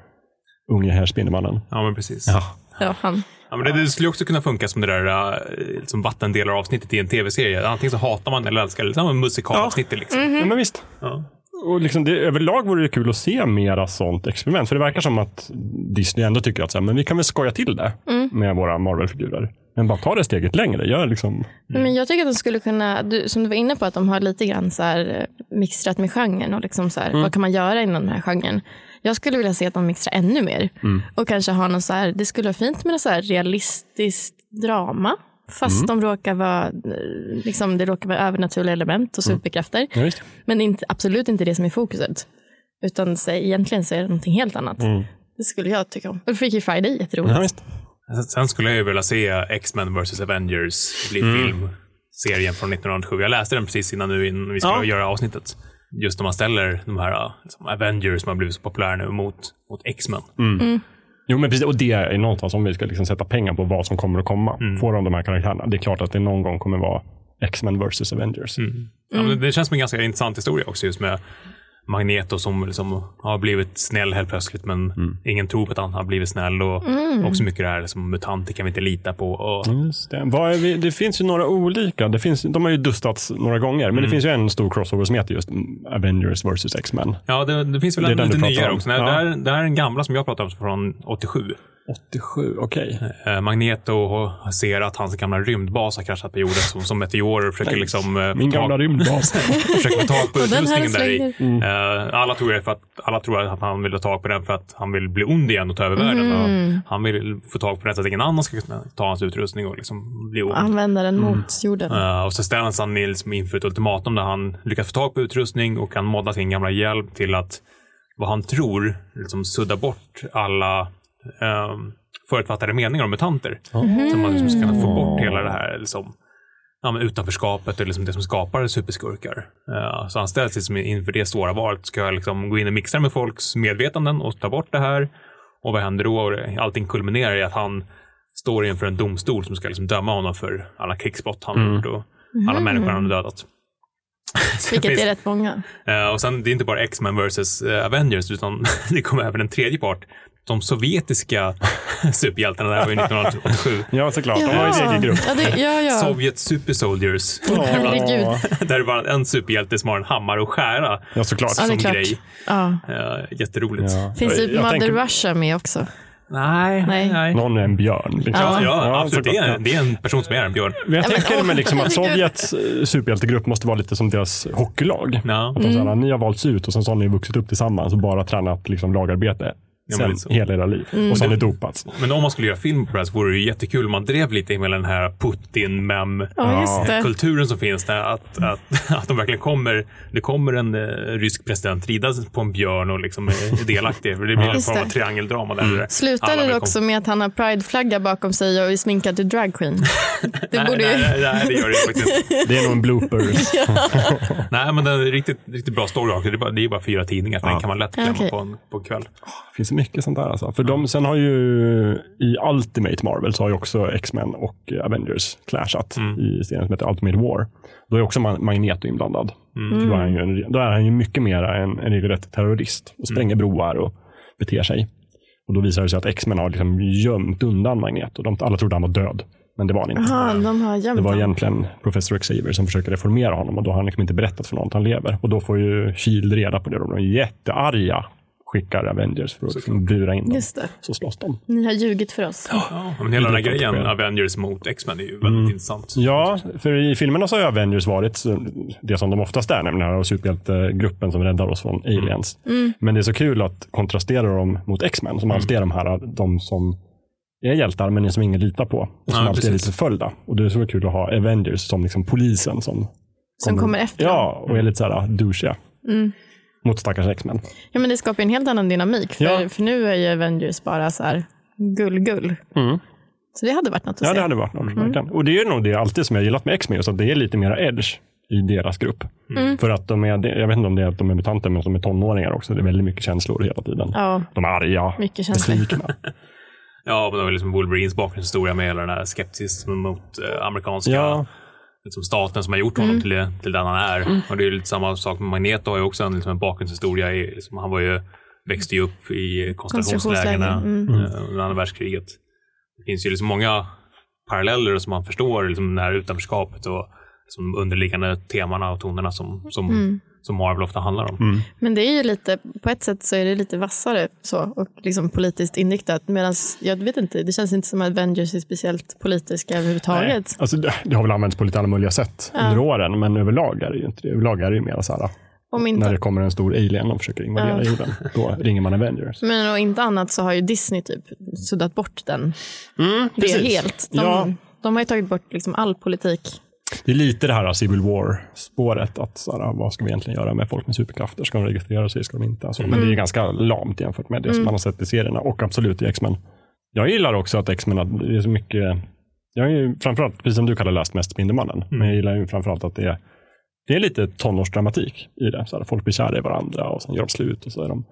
A: unge herr Spindelmannen?
C: Ja, men precis.
A: Ja.
B: Ja, han.
C: Ja, men det, det skulle ju också kunna funka som det där eh, liksom vattendelar-avsnittet i en tv-serie. Antingen så hatar man eller älskar det. Samma musikalavsnitt liksom.
A: ja, men visst.
C: Ja.
A: Och liksom det, överlag vore det kul att se mera sånt experiment. För det verkar som att Disney ändå tycker att så här, men vi kan väl skoja till det med våra Marvel-figurer. Men bara ta det steget längre. Gör liksom,
B: Men jag tycker att de skulle kunna, du, som du var inne på, att de har lite grann så här, eh, mixtrat med genren. Och liksom så här, Vad kan man göra inom den här genren? Jag skulle vilja se att de mixtrar ännu mer. Och kanske ha någon så här, det skulle vara fint med något så här realistiskt drama. Fast de råkar vara, eh, liksom, det råkar vara övernaturliga element och superkrafter.
A: ja, visst.
B: Men inte, absolut inte det som är fokuset. Utan så, egentligen så är det någonting helt annat. Det skulle jag tycka om. Och Freaky Friday är jätteroligt.
A: Mm. Ja, visst.
C: Sen- Sen skulle jag ju vilja se X-Men vs. Avengers
A: Mm.
C: bli film. Serien från 1907. Jag läste den precis innan nu innan vi skulle
A: Ja.
C: göra avsnittet. Just när man ställer de här eh, liksom Avengers som har blivit så populära nu mot, mot X-Men.
A: Mm. Jo, men precis, och det är någonstans om vi ska liksom sätta pengar på vad som kommer att komma. Får de de här karaktärerna? Det är klart att det någon gång kommer vara X-Men vs. Avengers.
C: Ja, men det- det känns som en ganska intressant historia också just med Magneto som liksom har blivit snäll helt plötsligt men
A: Mm.
C: ingen tror på att han har blivit snäll. Och Också mycket det här som mutanter kan vi inte lita på. Och,
A: Just det. Vad är vi? det finns ju några olika. Det finns, de har ju dustats några gånger, men det finns ju en stor crossover som heter just Avengers vs. X-Men.
C: Ja, det, det finns väl
A: Det är
C: en
A: den
C: lite
A: du pratar
C: nyare
A: om.
C: också. Nej,
A: Ja.
C: det, här, det här är den gamla som jag pratade om från 87.
A: 87, okej.
C: Eh, Magneto har- ser att hans gamla rymdbas har kraschat på jorden som, som meteorer och försöker liksom eh,
A: Min
C: få tag-
A: gamla rymdbas.
C: försöker få tag på
B: Och den här Mm.
C: utrustningen där i. Eh, alla, tror det för att, alla tror att han vill ha tag på den för att han vill bli ond igen och ta över världen.
B: Mm.
C: Och han vill få tag på den så att ingen annan ska kunna ta hans utrustning och liksom bli ond.
B: Använda den
A: Mm.
B: mot jorden.
C: Eh, och så ställs han liksom inför ett ultimatum där han lyckas få tag på utrustning och kan modda sin gamla hjälp till att vad han tror liksom sudda bort alla um, förutfattade meningar om mutanter. Så man liksom ska kunna få bort hela det här liksom, ja, men utanförskapet och liksom det som skapar superskurkar. Eh, så han ställs liksom inför det svåra valet. Ska jag liksom gå in och mixa med folks medvetanden och ta bort det här? Och vad händer då? Och det- Allting kulminerar i att han står inför en domstol som ska liksom döma honom för alla krigsbrott han gjort och alla människor han har dödat. Så det
B: Mm. Vilket
C: finns-
B: är rätt många.
C: Eh, och sen, det är inte bara X-Men vs eh, Avengers, utan det kommer även en tredje part. De sovjetiska superhjältarna, det här var ju 1987.
A: ja, såklart. De har ju en egen grupp.
B: Ja, det, ja, ja.
C: Sovjet Super Soldiers.
B: Herregud.
C: Där det bara är en superhjälte som har en hammare och skära
A: Ja, såklart.
B: Ja, det är
C: som
B: klart.
C: grej.
B: Ja.
C: Eh, jätteroligt.
A: Ja.
B: Finns
A: Jag-
B: typ
A: jag
B: Mother
A: tänker-
B: Russia med också?
C: Nej.
B: Nej.
A: Någon är en björn. Liksom.
C: Ja,
A: Ja,
C: ja, absolut. Det är,
A: såklart.
C: en, det är en person som är en björn.
A: Men jag
B: Ja, men-
A: tänker mig liksom att
B: Herregud.
A: Sovjets eh, superhjältegrupp måste vara lite som deras hockeylag.
C: Ja.
A: Att de så här,
B: Mm.
A: ni har valts ut och sen så har ni vuxit upp tillsammans och bara tränat liksom, lagarbete
C: Ja, men
A: sen,
C: lite så.
A: hela era liv.
B: Mm.
A: Och sen är dopats.
C: Men om man skulle göra film på det här så vore det ju jättekul om man drev lite med den här Putin-mem
B: Ja, just det.
C: kulturen som finns där, att, att, att de verkligen kommer, det kommer en eh, rysk president ridandes på en björn och liksom är delaktig. Det blir en
B: Just
C: form av
B: det.
C: triangeldrama där. Alla
B: Slutade det
C: välkom-
B: också med att han har prideflagga bakom sig och är sminkad till dragqueen? Det
C: Nej,
B: borde
C: nej,
B: ju...
C: nej, nej, det gör det faktiskt inte.
A: Det är nog en blooper.
C: Nej, men den är riktigt, riktigt bra story arc. Det är bara, det är bara fyra tidningar, så den kan man lätt glömma
B: Okej.
C: på, en, på en kväll.
A: Det finns mycket sånt där. Alltså. För de, sen har ju i Ultimate Marvel så har ju också X-Men och Avengers clashat i serien som heter Ultimate War. Då är också Ma- Magneto inblandad. Då, är han ju en, då är han ju mycket mer en, en regelrätt terrorist och spränger broar och beter sig. Och Då visar det sig att X-Men har liksom gömt undan Magneto. De, alla trodde han var död, men det var han inte.
B: Jaha, de har
A: Det
B: gömt
A: var
B: honom.
A: egentligen professor Xavier som försöker reformera honom och då har han liksom inte berättat för någon att han lever. Och då får ju Shield reda på det. De är jättearga. Skickar Avengers för att liksom bura in dem.
B: Just det.
A: Så slåss de.
B: Ni har ljugit för oss.
C: Ja, men hela den här
A: Det är klart
C: grejen,
A: det Mm. är.
C: Avengers mot X-Men, är ju väldigt intressant.
A: Ja, för i filmerna så har Avengers varit det som de oftast är, nämligen den här superhjältegruppen som räddar oss från
C: Mm.
A: aliens.
B: Mm.
A: Men det är så kul att kontrastera dem mot X-Men
C: Mm.
A: som alltid är de här, de som är hjältar men som ingen litar på. Och som
C: Ja,
A: alltid är lite
C: precis.
A: förföljda. Och det är så kul att ha Avengers som liksom polisen som
B: Som kommer efter dem.
A: Mm. Ja, och är lite så här douchiga.
B: Mm.
A: Mot stackars X-Men.
B: Ja, men det skapar ju en helt annan dynamik. För,
A: Ja.
B: för nu är ju Avengers bara så här gull-gull. Så det hade varit något att
A: Mm. Ja,
B: se.
A: det hade varit
B: Mm.
A: något. verkligen. Och det är nog det alltid som jag gillat med X-Men, just att det är lite mera edge i deras grupp.
B: Mm.
A: För att de är, jag vet inte om det är att de är mutanter, men att de är tonåringar också. Det är väldigt mycket känslor hela tiden.
B: Ja,
A: De är arga,
B: mycket känslor.
A: besvikna.
C: Ja, men det var liksom Wolverines bakgrundshistoria med hela den här skepticismen mot eh, amerikanska
A: Ja.
C: liksom staten som har gjort honom till, det, till den han är. Och det är ju lite samma sak med Magneto, har ju också en, liksom, en bakgrundshistoria. I, liksom, han var ju, växte ju upp i koncentrationslägren eh,
B: Koncentrationsläger,
C: under andra världskriget. Det finns ju liksom många paralleller som man förstår, liksom det här utanförskapet och liksom, de underliggande temana och tonerna som, som, som Marvel ofta handlar om.
B: Men det är ju lite, på ett sätt så är det lite vassare så och liksom politiskt inriktat. Medan jag vet inte, det känns inte som att Avengers är speciellt politiska överhuvudtaget.
A: Alltså, det, det har väl använts på lite alla möjliga sätt under åren, men överlag är det ju inte det. Överlag är det ju mera så här,
B: Om
A: när
B: inte,
A: det kommer en stor alien och försöker invadera
B: Ja.
A: jorden, då ringer man Avengers.
B: Men och inte annat så har ju Disney typ suddat bort den. det är
A: Mm, precis.
B: helt. De,
A: Ja.
B: de har ju tagit bort liksom all politik.
A: Det är lite det här Civil War-spåret. Att, så här, vad ska vi egentligen göra med folk med superkrafter? Ska de registrera sig? Ska de inte? Alltså,
B: Mm.
A: Men det är ganska lamt jämfört med det som man har sett i serierna och absolut i X-Men. Jag gillar också att X-Men, att det är så mycket... Jag har ju framförallt, precis som du kallar läst mest Spindelmannen,
B: Mm.
A: men jag gillar ju framförallt att det är, det är lite tonårsdramatik i det. Så här, folk blir kära i varandra och sen gör de slut och så är de...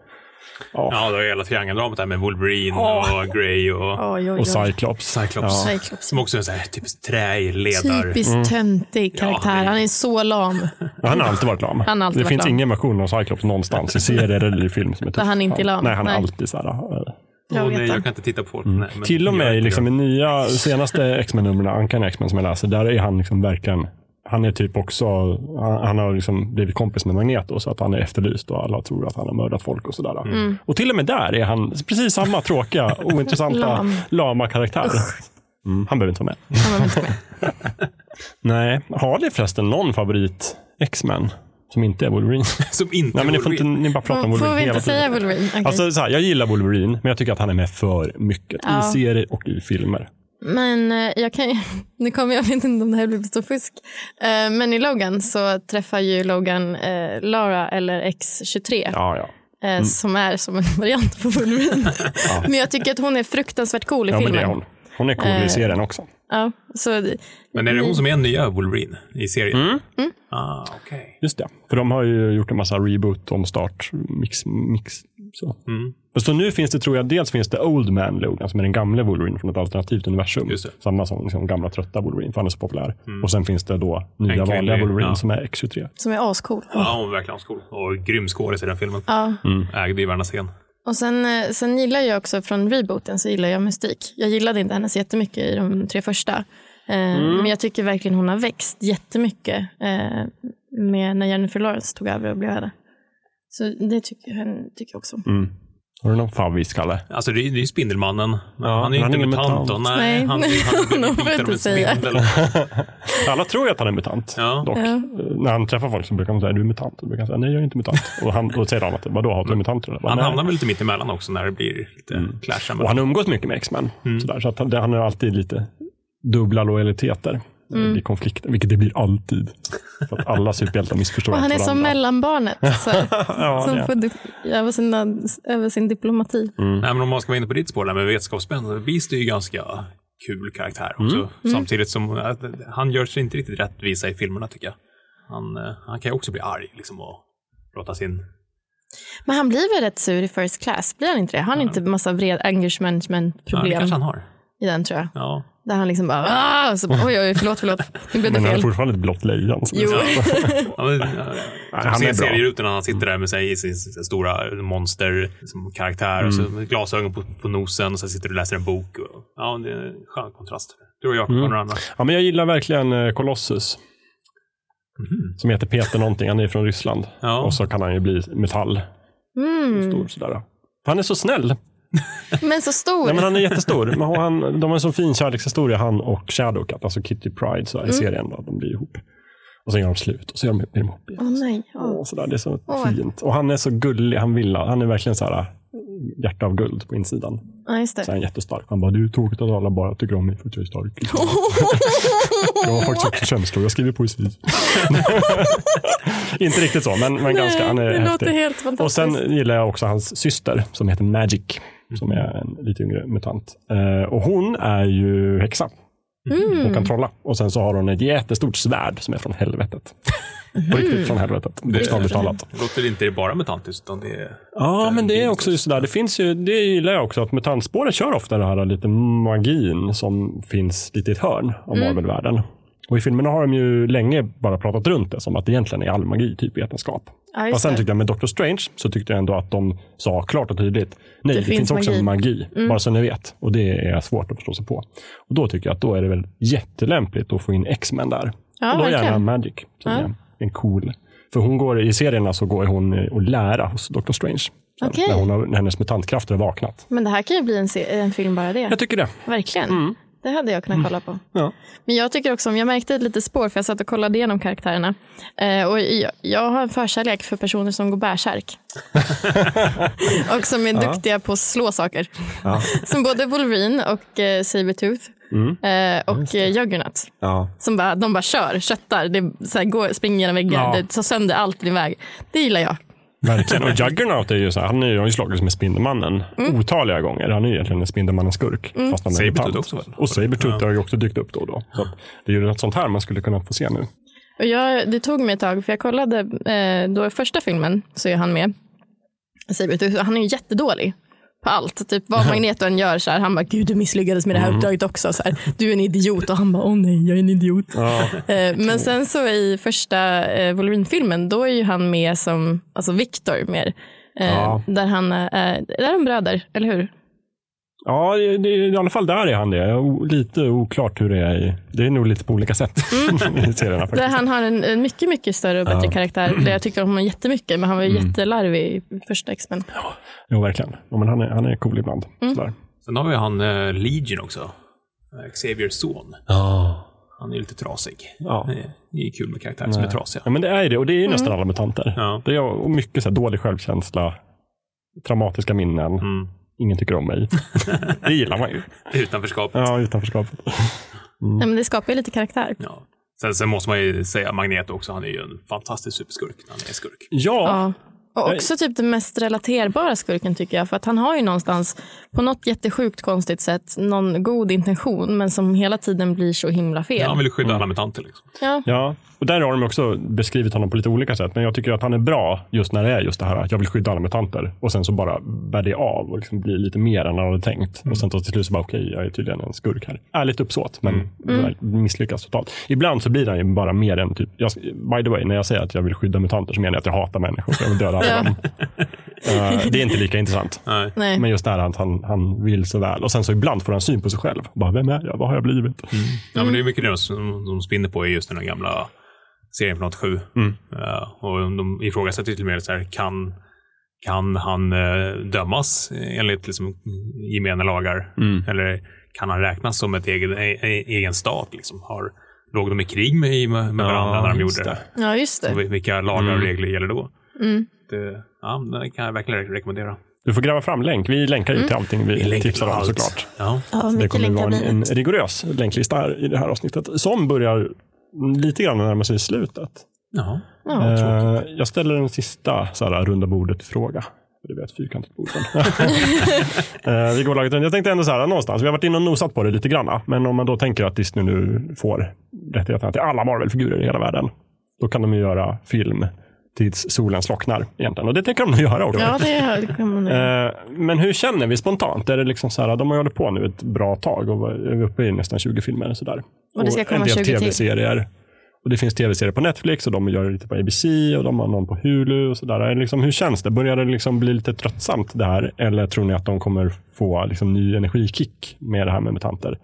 A: Ja,
C: Ja, det är hela triangeldramat där med Wolverine och Grey och
B: Oj, oj,
A: och
B: oj.
A: Cyclops.
C: Cyclops.
A: Ja.
B: Cyclops.
C: Som också är en sån här typ typisk träledare.
B: Typiskt
A: Mm.
B: töntig karaktär.
C: det-
B: Han är så lam.
A: Ja, Han har alltid varit lam.
B: Han har alltid
A: det
B: varit
A: finns
B: lam.
A: ingen version av Cyclops någonstans i serier eller i film som är typ
B: Där han inte är lam.
A: Nej, han är
B: Nej.
A: alltid så här... eh,
B: Jag
C: Åh,
B: vet
C: nej, jag
B: det.
C: kan inte titta på folk. Nej, men
A: Mm. Till och
C: jag
A: med i
C: inte
A: liksom,
C: det.
A: i nya, senaste X-Men-numren, Ankan X-Men som jag läser, där är han liksom verkligen han är typ också, han, han har liksom blivit kompis med Magneto så att han är efterlyst och alla tror att han har mördat folk och sådär.
B: Mm.
A: Och till och med där är han precis samma tråkiga, ointressanta,
B: Lam.
A: lama karaktär. Mm, han behöver inte vara med.
B: Han var inte med.
A: Nej, har ni förresten någon favorit X-Men som inte är Wolverine?
C: Som inte
A: Nej, men ni, får inte,
C: Wolverine.
A: ni bara pratar om
B: Mm, Får,
A: Wolverine
B: får vi
A: hela tiden.
B: inte säga Wolverine? Okej.
A: Alltså, så här, jag gillar Wolverine, men jag tycker att han är med för mycket.
B: Ja.
A: I serier och i filmer.
B: Men eh, jag kan ju, nu kommer jag, jag vet inte om det här blir så fusk. Eh, Men i Logan så träffar ju Logan eh, Lara eller X23
A: Ja, Mm. ja.
B: eh, som är som en variant på Wolverine. Men jag tycker att hon är fruktansvärt cool i
A: Ja, men
B: filmen.
A: det är hon. Hon är cool
B: Eh.
A: i serien också.
B: Ja, så
C: Men är det hon som är den nya Wolverine i serien?
A: Mm.
B: Mm.
C: Ah, okej.
A: Just det. För de har ju gjort en massa reboot, omstart, mix. mix så. Så nu finns det, tror jag, dels finns det Old Man Logan, som är den gamla Wolverine från ett alternativt universum.
C: Just det.
A: Samma som liksom, gamla trötta Wolverine, för han är så populär. Och sen finns det då nya
C: kvinnlig,
A: vanliga Wolverine
C: ja.
A: som är X23.
B: som är ascool.
C: Ja, hon var verkligen ascool. Och grym skådis i den filmen.
B: Ja.
A: Mm.
C: Ägde ju varenda scen.
B: Och sen, eh, sen gillar jag också från rebooten så gillar jag mystik. Jag gillade inte henne så jättemycket i de tre första. Eh,
C: Mm.
B: Men jag tycker verkligen hon har växt jättemycket eh,
C: Mm,
B: med när Jennifer Lawrence tog över och blev henne. Så det tycker jag, henne tycker jag också om.
A: Har du någon favvis, Kalle?
C: Alltså det är, det är ju Spindelmannen. Men
A: Ja,
C: han är ju
A: han är
C: inte
A: ingen
C: mutant.
A: mutant.
C: då.
B: Nej.
C: Nej, han, han,
B: De
C: han
B: får
C: blir biten
B: inte
C: av en
B: säga.
C: spindel.
A: Alla tror ju att han är mutant.
C: Ja.
A: Dock.
B: Ja.
A: När han träffar folk så brukar han säga, du är mutant. Och brukar han säga, nej jag är inte mutant. Och, han, och säger han att, vadå, hatar du mutanter? eller?" Jag bara,
C: Han
A: "Nej." Mm.
C: hamnar väl lite mitt emellan också när det blir lite clash.
A: Och
C: mellan-
A: han umgås mycket med X-Men.
C: Mm.
A: Sådär, så att han, han har alltid lite dubbla lojaliteter
B: Mm.
A: i konflikten, vilket det blir alltid. För att alla superhjältar missförstår
B: Och han är
A: varandra.
B: som mellanbarnet. Så,
A: Ja, det
B: som
A: är.
B: får di- över, sina, över sin diplomati.
C: Nej, men om man ska vara inne på ditt spår där med vetenskapsmän. Beast är ju ganska kul karaktär också. Samtidigt som eh, han gör sig inte riktigt rättvisa i filmerna tycker jag. Han, eh, han kan ju också bli arg liksom och låta sin...
B: Men han blir väl rätt sur i first class? Blir han inte det? Har han inte massa vred anger management
C: Ja, det
B: problem
C: kanske han har.
B: i den tror jag?
C: Ja.
B: Där han liksom bara, "Ah!" Och så, oj, oj, förlåt, förlåt. Nu blev det
A: Men han är
B: fel.
A: fortfarande ett blått lejon. så det är
B: Jo.
A: så.
C: Ja, men, eh,
A: han är
C: som
A: bra. Mm.
C: ser serier ut när han sitter där med sig i sin, sin stora monster liksom, karaktär och så med glasögon på, på nosen och så sitter du och läser en bok. Och, ja, det är en skön kontrast. Du och Jakob har några andra.
A: Ja, men jag gillar verkligen eh, Colossus. Som heter Peter någonting, han är från Ryssland.
C: Mhm. Ja.
A: Och så kan han ju bli metall.
B: Mm.
A: Stor, sådär. Han är så snäll.
B: Men så stor.
A: Nej, men han är jättestor. Men han, de har en så fin kärlekshistoria, han och Shadowcat, alltså Kitty Pride så här, i serien. Då, de blir ihop. Och sen gör de slut och så gör de, är de ihop igen.
B: Åh nej. Åh.
A: Och så där, det är så
B: Åh.
A: fint. Och han är så gullig, han vill, han är verkligen så här äh, hjärta av guld på insidan.
B: Ja, just
A: Så
B: det.
A: han är jättestark. Han bara, du är tråkigt att alla bara tycker om mig för att jag är stark. Jag har faktiskt också känslor, jag skriver poesi. Inte riktigt så, men, men ganska. Han är
B: det
A: häftig.
B: låter helt
A: Och
B: fantastiskt.
A: sen gillar jag också hans syster som heter Magic, som är en lite yngre mutant. Eh, och hon är ju häxa.
B: Mm.
A: Hon kan trolla. Och sen så har hon ett jättestort svärd som är från helvetet. På riktigt från helvetet, bokstavligt talat.
C: Det låter inte bara mutantiskt utan det är...
A: Ja, men det är också just det där. Det finns ju, det gillar jag också, att mutantspåret kör ofta den här lite magin som finns lite i ett hörn av
B: Mm.
A: Marvel-världen. Och i filmerna har de ju länge bara pratat runt det, som att egentligen är all magi typ vetenskap.
B: Ja, just
A: Fast sen
B: det.
A: tyckte jag med Doctor Strange så tyckte jag ändå att de sa klart och tydligt. Nej, det,
B: finns
A: finns, också
B: magi. Mm.
A: magi, bara så ni vet. Och det är svårt att förstå sig på. Och då tycker jag att då är det väl jättelämpligt att få in X-Men där.
B: Ja,
A: och då
B: verkligen.
A: gärna Magic. Som är en cool. För hon går, i serierna så går hon eh, och lära hos Doctor Strange. Sen,
B: Okej.
A: När, hon har, när hennes mutantkrafter har vaknat.
B: Men det här kan ju bli en, se- en film bara det.
A: Jag tycker det.
B: Verkligen. Det hade jag kunnat kolla på.
A: Ja.
B: Men jag tycker också, om jag märkte ett litet spår, för jag satt och kollade igenom karaktärerna. Eh, och jag, jag har en förkärlek för personer som går bärsärk. och som är duktiga på att slå saker. Som både Wolverine och eh, Sabertooth.
A: Mm.
B: Eh, och eh, Juggernaut.
A: Ja.
B: Som bara, de bara kör, köttar, det är så här, går, springer genom väggar,
A: Ja.
B: det tar sönder allt i din väg. Det gillar jag.
A: Verkligen. Och Juggernaut är ju så här, han är ju, har ju slagits med Spindelmannen
B: Mm.
A: otaliga gånger. Han är ju egentligen en Spindelmannen-skurk. Fast han är
C: Sabertooth
A: mutant.
C: också, väl?
A: Och Sabertooth har ju också dykt upp då och då. Så att det är ju något sånt här man skulle kunna få se nu.
B: Och jag, det tog mig ett tag, för jag kollade eh, då i första filmen så är han med. Sabertooth, och Han är ju jättedålig på allt. Typ vad Magneto än gör så här, han bara, gud du misslyckades med det här uppdraget också. Så här, du är en idiot och han bara, åh nej, jag är en idiot. Eh, men sen så i första eh, Wolverine-filmen, då är ju han med som, alltså Victor mer. Eh,
A: Ja.
B: Där han, eh, där är de bröder, eller hur?
A: Ja, det, det, i alla fall där är han det. Jag är o- Lite oklart hur det är. i- Det är nog lite på olika sätt i serierna.
B: Där
A: Faktiskt.
B: Mm. han har en, en mycket, mycket större och bättre klarkaraktär. Där jag tyckte om honom jättemycket, men han var ju jättelarvig i första X-Men.
A: Jo, verkligen. Ja, men han, är, han är cool ibland.
B: Mm.
A: Sådär.
C: Sen har vi han eh, Legion också. Eh, Xaviers son.
A: Ja.
C: Han är ju lite trasig.
A: Ja.
C: Det är- det är ju kul med karaktärer som är trasiga.
A: men det är ju det. Och det är ju nästan alla mutanter.
C: Ja.
A: Det är och mycket så här, dålig självkänsla, traumatiska minnen. Ingen tycker om mig. det gillar man ju.
C: Utanförskapet.
A: Ja, utanförskapet.
B: Ja, men det skapar ju lite karaktär.
C: Ja. Sen, sen måste man ju säga Magneto också. Han är ju en fantastisk superskurk när han är skurk.
A: Ja,
B: Ja. Och också typ den mest relaterbara skurken tycker jag. För att han har ju någonstans, på något jättesjukt konstigt sätt, någon god intention, men som hela tiden blir så himla fel.
C: Han vill ju skydda
A: Mm.
C: alla mutanter. Liksom.
B: Ja.
A: Ja, och där har de också beskrivit honom på lite olika sätt. Men jag tycker att han är bra just när det är just det här att jag vill skydda alla mutanter. Och sen så bara bär det av och liksom blir lite mer än han hade tänkt. Och sen så till slut så bara okej, jag är tydligen en skurk här. Ärligt uppsåt, men det där misslyckas totalt. Ibland så blir han ju bara mer än typ, jag, by the way, när jag säger att jag vill skydda mutanter så menar jag att jag hatar människor. Jag vill döda alla dem. Eh, det är inte lika intressant.
C: Nej.
B: Nej.
A: Men just det här att han, han vill så väl. Och sen så ibland får han syn på sig själv. Bara, vem är jag? Vad har jag blivit?
C: Ja, men det är mycket det som de spinner på i just den här Eh, gamla serien från 87. Mm. och de ifrågasätter till och med så här, kan Kan han eh, dömas enligt liksom, gemena lagar?
A: Mm.
C: Eller kan han räknas som ett egen, e, e, egen stat? Liksom? Har, låg de i krig med, med
A: Ja,
C: varandra när de gjorde
A: just
C: det?
B: Ja, just
C: Och
B: det.
C: vil- vilka lagar och
A: Mm.
C: regler gäller då?
B: Mm.
C: Det, ja, det kan jag verkligen re- rekommendera.
A: Du får gräva fram länk. Vi länkar ju till allting vi,
C: länkar
A: tipsar
C: till
A: om
C: allt.
A: såklart.
C: Ja.
B: Mm. Ja,
A: Det
B: mycket
A: kommer
B: länkar
A: vara en,
B: blir det.
A: en rigorös länklista här i det här avsnittet som börjar lite grann närma sig slutet.
C: Ja.
B: Ja.
A: Eh, jag ställer en sista så här, runda bordet-fråga. Det blir ett fyrkantigt bord. sen. Eh, vi går laget runt. Jag tänkte ändå så här, någonstans, vi har varit inne och nosat på det lite grann. Men om man då tänker att Disney nu får rättigheterna till alla Marvel-figurer i hela världen. Då kan de ju göra film tills solen slocknar egentligen. Och det tänker de nog göra också.
B: Ja, det kommer nog.
A: Eh, Men hur känner vi spontant? Är det liksom så här, de har ju hållit på nu ett bra tag och är uppe i nästan 20 filmer. Och, så där.
B: Och det ska komma
A: en
B: 20
A: del
B: till.
A: tv-serier. Och det finns tv-serier på Netflix och de gör lite på ABC och de har någon på Hulu. och så där. Är det Liksom, hur känns det? Börjar det liksom bli lite tröttsamt det här? Eller tror ni att de kommer få liksom ny energikick med det här med mutanter?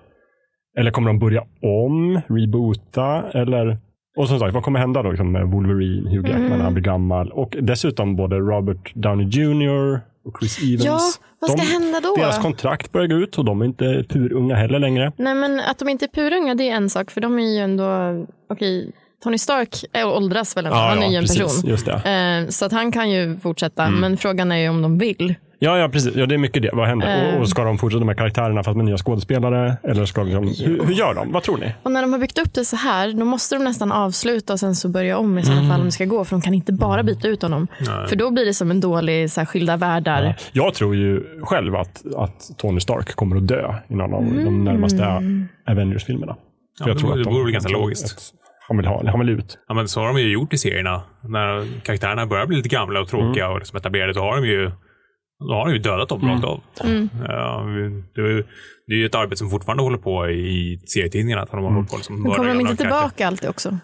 A: Eller kommer de börja om, reboota? Eller, och som sagt, vad kommer hända då liksom med Wolverine, Hugh Jackman
B: Mm.
A: när han blir gammal? Och dessutom både Robert Downey Jr och Chris Evans.
B: Ja, vad ska
A: de,
B: hända då?
A: Deras kontrakt börjar gå ut och de är inte purunga heller längre.
B: Nej, men att de inte är purunga, det är en sak, för de är ju ändå, okej, Tony Stark är, åldras väl ändå, han är ju en
A: precis, Mm.
B: person.
A: Just det.
B: Eh, Så att han kan ju fortsätta, men frågan är ju om de vill.
A: Ja, ja, precis. Ja, det är mycket det. Vad händer?
B: Eh.
A: Och, och ska de fortsätta med karaktärerna fast med nya skådespelare? Eller ska de, hur, hur gör de? Vad tror ni?
B: Och när de har byggt upp det så här, då måste de nästan avsluta och sen så börja om i sådana fall om det ska gå. För de kan inte bara byta ut honom. För då blir det som en dålig så här, skilda världar.
A: Jag tror ju själv att, att Tony Stark kommer att dö i någon av
B: Mm.
A: de närmaste Avengers-filmerna. För
C: Ja, det vore- det vore väl ganska
A: han-
C: logiskt.
A: att Han vill, ha, han vill ut.
C: Ja, men så har de ju gjort i serierna. När karaktärerna börjar bli lite gamla och tråkiga
A: Mm.
C: och liksom etablerade, så har de ju då har de ju dödat dem rakt av.
B: Mm.
C: Ja, vi- det, är ju- det är ju ett arbete som fortfarande håller på i serietidningarna. Att de har
A: Mm.
C: hållit på liksom
B: Men
C: mörda
B: kommer de
C: gamla
B: inte
C: karaktärer.
B: tillbaka alltid också?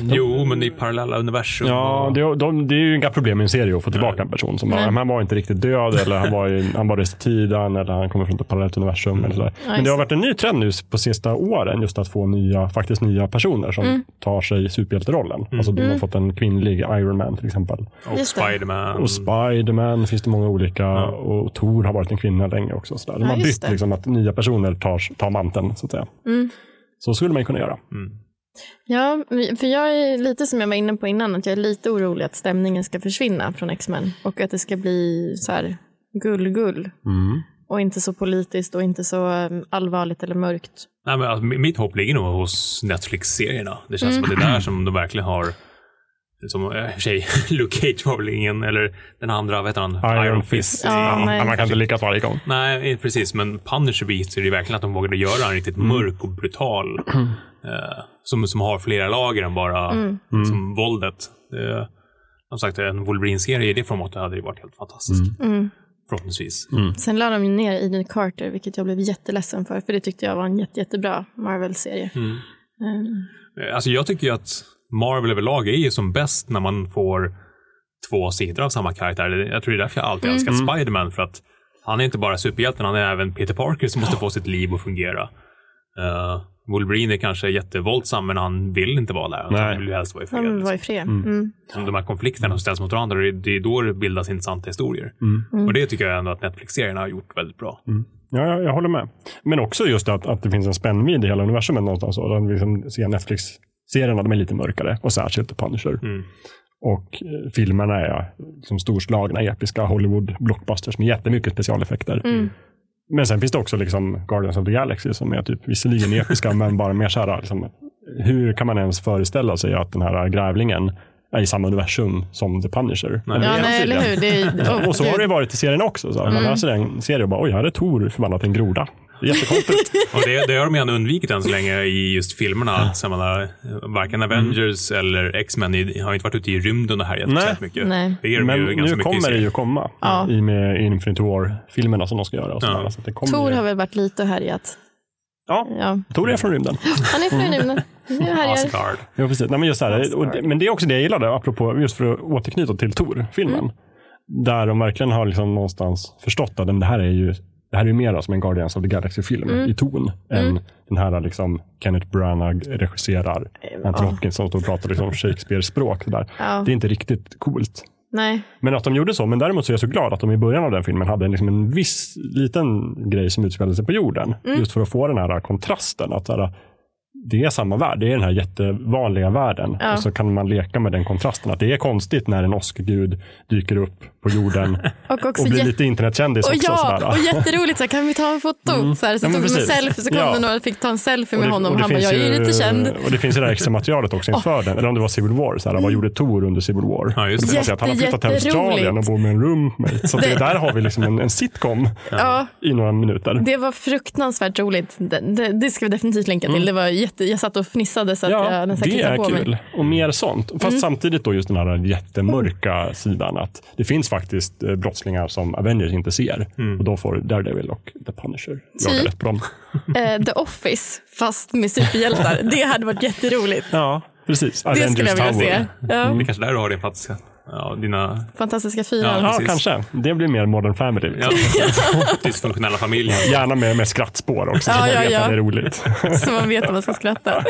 C: Jo, men det är parallella universum.
A: Ja,
C: och-
A: det, de, det är ju inga problem i en serie att få tillbaka en person som bara,
B: Nej.
A: "Men han var inte riktigt död eller han var, i, han var rest i tiden eller han kommer från ett parallellt universum. Eller sådär. Men
B: just
A: det har
B: det.
A: varit en ny trend nu på sista åren just att få nya, faktiskt nya personer som
B: Mm.
A: tar sig superhjälterollen.
C: Mm.
A: Alltså de har fått en kvinnlig Iron Man till exempel.
C: och
B: Just det.
C: Spiderman.
A: Och Spiderman finns det många olika och Thor har varit en kvinna länge också. Sådär. De
B: Ja,
A: har
B: just
A: bytt
B: det. Mm.
A: liksom att nya personer tar, tar manteln så att säga. Så skulle man ju kunna göra.
B: Ja, för jag är lite som jag var inne på innan, att jag är lite orolig att stämningen ska försvinna från X-Men. Och att det ska bli så här gull-gull. Och inte så politiskt och inte så eh, allvarligt eller mörkt.
C: Nej, men alltså, mi- mitt hopp ligger nog hos Netflix-serierna. Det känns som att
B: Mm.
C: det är där som de verkligen har Liksom, eh, i och för sig, Luke Cage var väl ingen, eller den andra, vad heter han?
A: Iron, Fist.
B: Ja, nej.
A: man kan inte lyckas varje gång.
C: Nej, eh, precis. Men Punisher visar ju verkligen att de vågade göra en riktigt mörk och brutal. Eh, som, som har flera lager än bara Som våldet. Det, som sagt, en Wolverine-serie i det formatet hade ju varit helt fantastisk. Förhoppningsvis.
B: Sen la de ju ner Agent Carter, vilket jag blev jätteledsen för, för det tyckte jag var en jätte, jättebra Marvel-serie. Ehm,
C: Eh, Alltså, jag tycker ju att Marvel överlag är ju som bäst när man får två sidor av samma karaktär. Det- Jag tror det är därför jag alltid
B: Mm.
C: älskat Spiderman. För att han är inte bara superhjälten, han är även Peter Parker som måste få sitt liv att fungera. Eh, Wolverine är kanske jättevåldsam, men han vill inte vara där.
A: Nej.
C: Han vill ju helst vara i fred.
B: Han
C: liksom.
B: var i fred. Mm.
C: Som de här konflikterna som ställs mot varandra, det är- det är då det bildas intressanta historier.
B: Mm.
C: Och det tycker jag ändå att Netflix-serierna har gjort väldigt bra.
A: Ja, jag, jag håller med. Men också just att, att det finns en spännvidd i hela universumet någonstans. Och den liksom ser Netflix-serierna de är lite mörkare och särskilt Punisher. Och eh, filmerna är liksom storslagna, episka Hollywood-blockbusters med jättemycket specialeffekter. Men sen finns det också liksom Guardians of the Galaxy som är typ visserligen episka men bara mer så här, liksom, hur kan man ens föreställa sig att den här grävlingen är i samma universum som The Punisher?
C: Nej.
A: Eller
B: Ja,
A: är
B: nej,
A: tydligen.
B: eller hur. Alltså, Det Mm. är,
A: Och så har det ju varit i serien också. Så här. Man läser en serie och bara, oj, här är Tor förvandlat till en groda. Det är jättekonstigt.
C: Och det, det har de ju ändå undvikit än så länge i just filmerna. Så jag menar, varken Avengers eller X-Men i- har ju inte varit ute i rymden och härjat
A: Mm. Nej.
C: särskilt mycket.
B: Nej.
C: Det är de
A: Men
C: ju ganska
A: nu
C: mycket i
A: kommer det
C: serien.
A: ju komma.
B: Ja.
A: I med Infinity War-filmerna som de ska göra. Och
C: Ja.
A: sådär. så att det kommer
B: Tor
A: ju-
B: har väl varit lite och härjat.
A: ja.
B: Ja.
A: Tor är från rymden.
B: Han är från rymden. Nu härjar.
C: Asgard.
A: Ja, precis. Nej, men, just så här, och det, men det är också det jag gillade, apropå, just för att återknyta till Tor-filmen. Där de verkligen har liksom någonstans förstått att men det här är ju det här är ju mer som en Guardians of the Galaxy-film i ton än den här liksom Kenneth Branagh regisserar Anthony Hopkins som står och pratar liksom Shakespeare-språk. Där.
B: Ja.
A: Det är inte riktigt coolt.
B: Nej.
A: Men att de gjorde så. Men däremot så är jag så glad att de i början av den filmen hade en, liksom en viss liten grej som utspelade sig på jorden.
B: Mm.
A: Just för att få den här kontrasten. Att så här, det är samma värld. Det är den här jättevanliga världen.
B: Ja.
A: Och så kan man leka med den kontrasten. Att det är konstigt när en åskgud dyker upp på jorden.
B: Och också
A: och blir
B: jätte-
A: lite internetkändis
B: Och
A: också. sådär. Mm.
B: ja, och jätteroligt. Så här, kan vi ta en foto? Så, här, så
A: Ja, men
B: tog de en
A: precis.
B: selfie, så kom
A: Ja.
B: det några och fick ta en selfie
A: Och
B: med
A: det-
B: honom.
A: och det
B: Han bara,
A: finns
B: jag är ju lite känd.
A: Och det finns ju det här extramaterialet också inför den. Eller om det var Civil War. Så här,
B: Mm.
A: Vad gjorde Tor under Civil War?
C: Ja, just det.
A: Då får man säga att han har flyttat till Australien och
B: Jätteroligt.
A: bor med en roommate. Så det,
B: Det-
A: där har vi liksom en, en sitcom
B: Ja,
A: i några minuter.
B: det var fruktansvärt roligt. Det, det, det ska vi definitivt länka till. Det var jätte, jag satt och fnissade så att
A: Mm. Ja,
B: jag nästan
A: det
B: kissade
A: är
B: på
A: kul.
B: mig. Mm.
A: Och mer sånt. Fast samtidigt då just den här jättemörka sidan att det finns faktiskt eh, brottslingar som Avengers inte ser. Och då får Daredevil och The Punisher jaga
B: Typ.
A: rätt på dem.
B: Eh, The Office, fast med superhjältar. det hade varit jätteroligt.
A: Ja, Mm. precis.
B: Det skulle jag vilja se. Ja.
C: Det är kanske där du har din plats. Ja, dina
B: Fantastiska fyran.
A: Ja,
C: Precis.
A: kanske. Det blir mer Modern Family. Liksom.
C: ja, dysfunktionella familjer.
A: Gärna med, med skrattspår också,
B: Ja,
A: så man
B: ja,
A: vet
B: ja.
A: att det är roligt.
B: Så man vet om man ska skratta.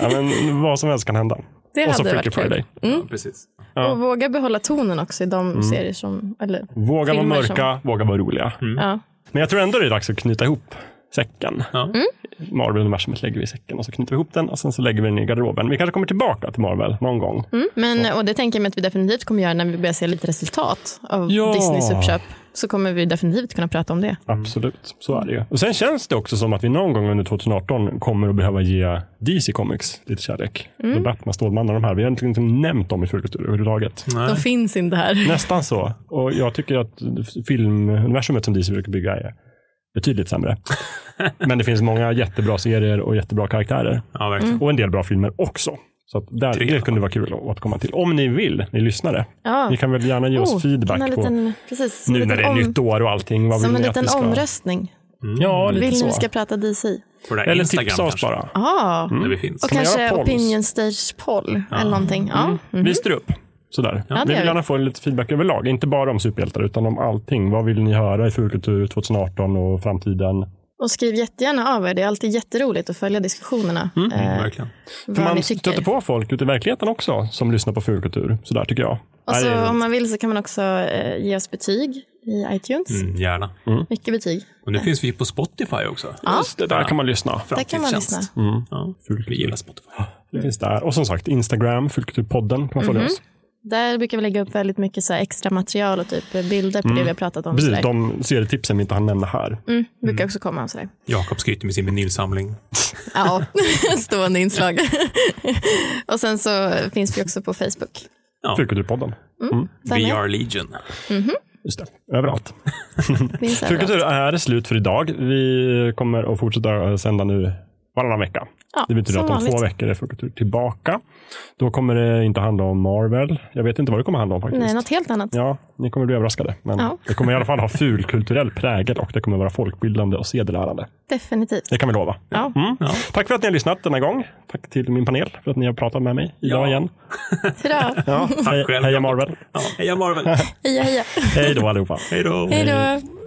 A: ja, men vad som helst kan hända.
B: Det
A: och så
B: hade
A: Freaky
B: varit kul.
A: Friday.
C: Ja, precis.
B: Och våga behålla tonen också i de
A: Mm.
B: serier som... Eller,
A: Våga vara
B: filmer
A: mörka, våga vara roliga.
B: ja. Mm.
A: Men jag tror ändå det är dags att knyta ihop säcken.
C: Ja.
A: Marvel-universumet lägger vi i säcken och så knyter vi ihop den och sen så lägger vi den i garderoben. Vi kanske kommer tillbaka till Marvel någon gång.
B: Mm, men, och det tänker jag mig att vi definitivt kommer göra när vi börjar se lite resultat av
A: Ja.
B: Disneys uppköp. Så kommer vi definitivt kunna prata om det.
A: Absolut, så är det ju. Och sen känns det också som att vi någon gång under 2018 kommer att behöva ge DC Comics lite kärlek. Mm. Batman, Stålmannen och de här. Vi har inte liksom nämnt dem i Frukost överhuvudtaget.
B: De
C: Nej.
B: finns inte här.
A: Nästan så. Och jag tycker att filmuniversumet som DC brukar bygga är betydligt sämre. Men det finns många jättebra serier och jättebra karaktärer.
C: Ja,
B: Mm.
C: verkligen.
A: Och en del bra filmer också. Så att där,
C: Tre.
A: det kunde vara kul att återkomma till. Om ni vill, ni lyssnare.
B: Ja.
A: Ni kan väl gärna ge oss
B: Oh, den
A: feedback
B: här
A: på,
B: liten, precis, som
A: nu
B: en
A: när det
B: liten
A: är
B: om-
A: nytt år och allting. Vad
B: Som
A: vill
B: en
A: ni att
B: liten
A: vi ska...
B: omröstning.
A: Mm. Ja, lite
B: Vill ni
A: så.
B: vi ska prata DC?
C: På det här
A: Eller
C: Instagram
A: tipsa oss
C: kanske.
A: bara. Mm.
B: Ja.
C: Där vi finns.
B: Och
A: man göra
B: kanske
A: polls?
B: Opinion Stage Poll eller någonting. Ja. Mm.
A: Vi styr upp. Sådär.
B: det
A: vi
B: gör
A: vill
B: vi.
A: gärna få lite feedback överlag. Inte bara om superhjältar, utan om allting. Vad vill ni höra i Fulkultur 2018 och framtiden?
B: Och skriv jättegärna av er. Det är alltid jätteroligt att följa diskussionerna. eh,
C: Mm, Verkligen.
A: Mm. För
B: vad
A: man
B: vi tycker.
A: stöter på folk ute i verkligheten också som lyssnar på fulkultur. Sådär tycker jag.
B: Och
A: Nej, det
B: så,
A: är-
B: Alltså, om man vill så kan man också eh, ge oss betyg i iTunes.
C: Mm, gärna.
B: Mycket betyg.
C: Och nu finns vi på Spotify också.
A: Just det, där kan man lyssna.
B: Där Eh. kan man lyssna.
C: Framtidstjänst.
A: Mm.
C: Ja, vi gillar Spotify.
A: Det finns där. Och som sagt, Instagram, Fulkulturpodden kan man
B: Mm-hmm.
A: följa oss.
B: Där brukar vi lägga upp väldigt mycket så här extra material och typ bilder på
A: Mm.
B: det vi har pratat om.
A: Precis,
B: sådär.
A: de serietipsen vi inte hann nämna här.
B: mm, brukar också komma. Sådär.
C: Jakob skryter med sin vinylsamling.
B: Ja, stående inslag. och sen så finns vi också på Facebook.
C: Ja.
A: Fulkulturpodden.
B: Där med.
C: VR Legion.
A: Just det, överallt.
B: Finns överallt.
A: Fulkultur är slut för idag. Vi kommer att fortsätta sända nu varannan vecka.
B: Ja,
A: Det betyder
B: som
A: att om
B: vanligt.
A: två veckor är Fulkultur tillbaka. Då kommer det inte handla om Marvel. Jag vet inte vad det kommer handla om faktiskt.
B: Nej, något helt annat.
A: Ja, ni kommer bli överraskade. Men
B: Ja.
A: det kommer i alla fall ha fulkulturell prägel och det kommer vara folkbildande och sedelärande.
B: Definitivt.
A: Det kan vi lova.
B: Ja.
A: Mm. Tack för att ni har lyssnat denna gång. Tack till min panel för att ni har pratat med mig idag
C: Ja.
A: igen.
B: Hurra.
A: Ja, Tack
C: själv,
A: Heja
C: Jakob.
A: Marvel.
C: Ja, heja Marvel.
B: Heja, heja.
A: Hej då allihopa.
C: Hej då.
B: Hej då.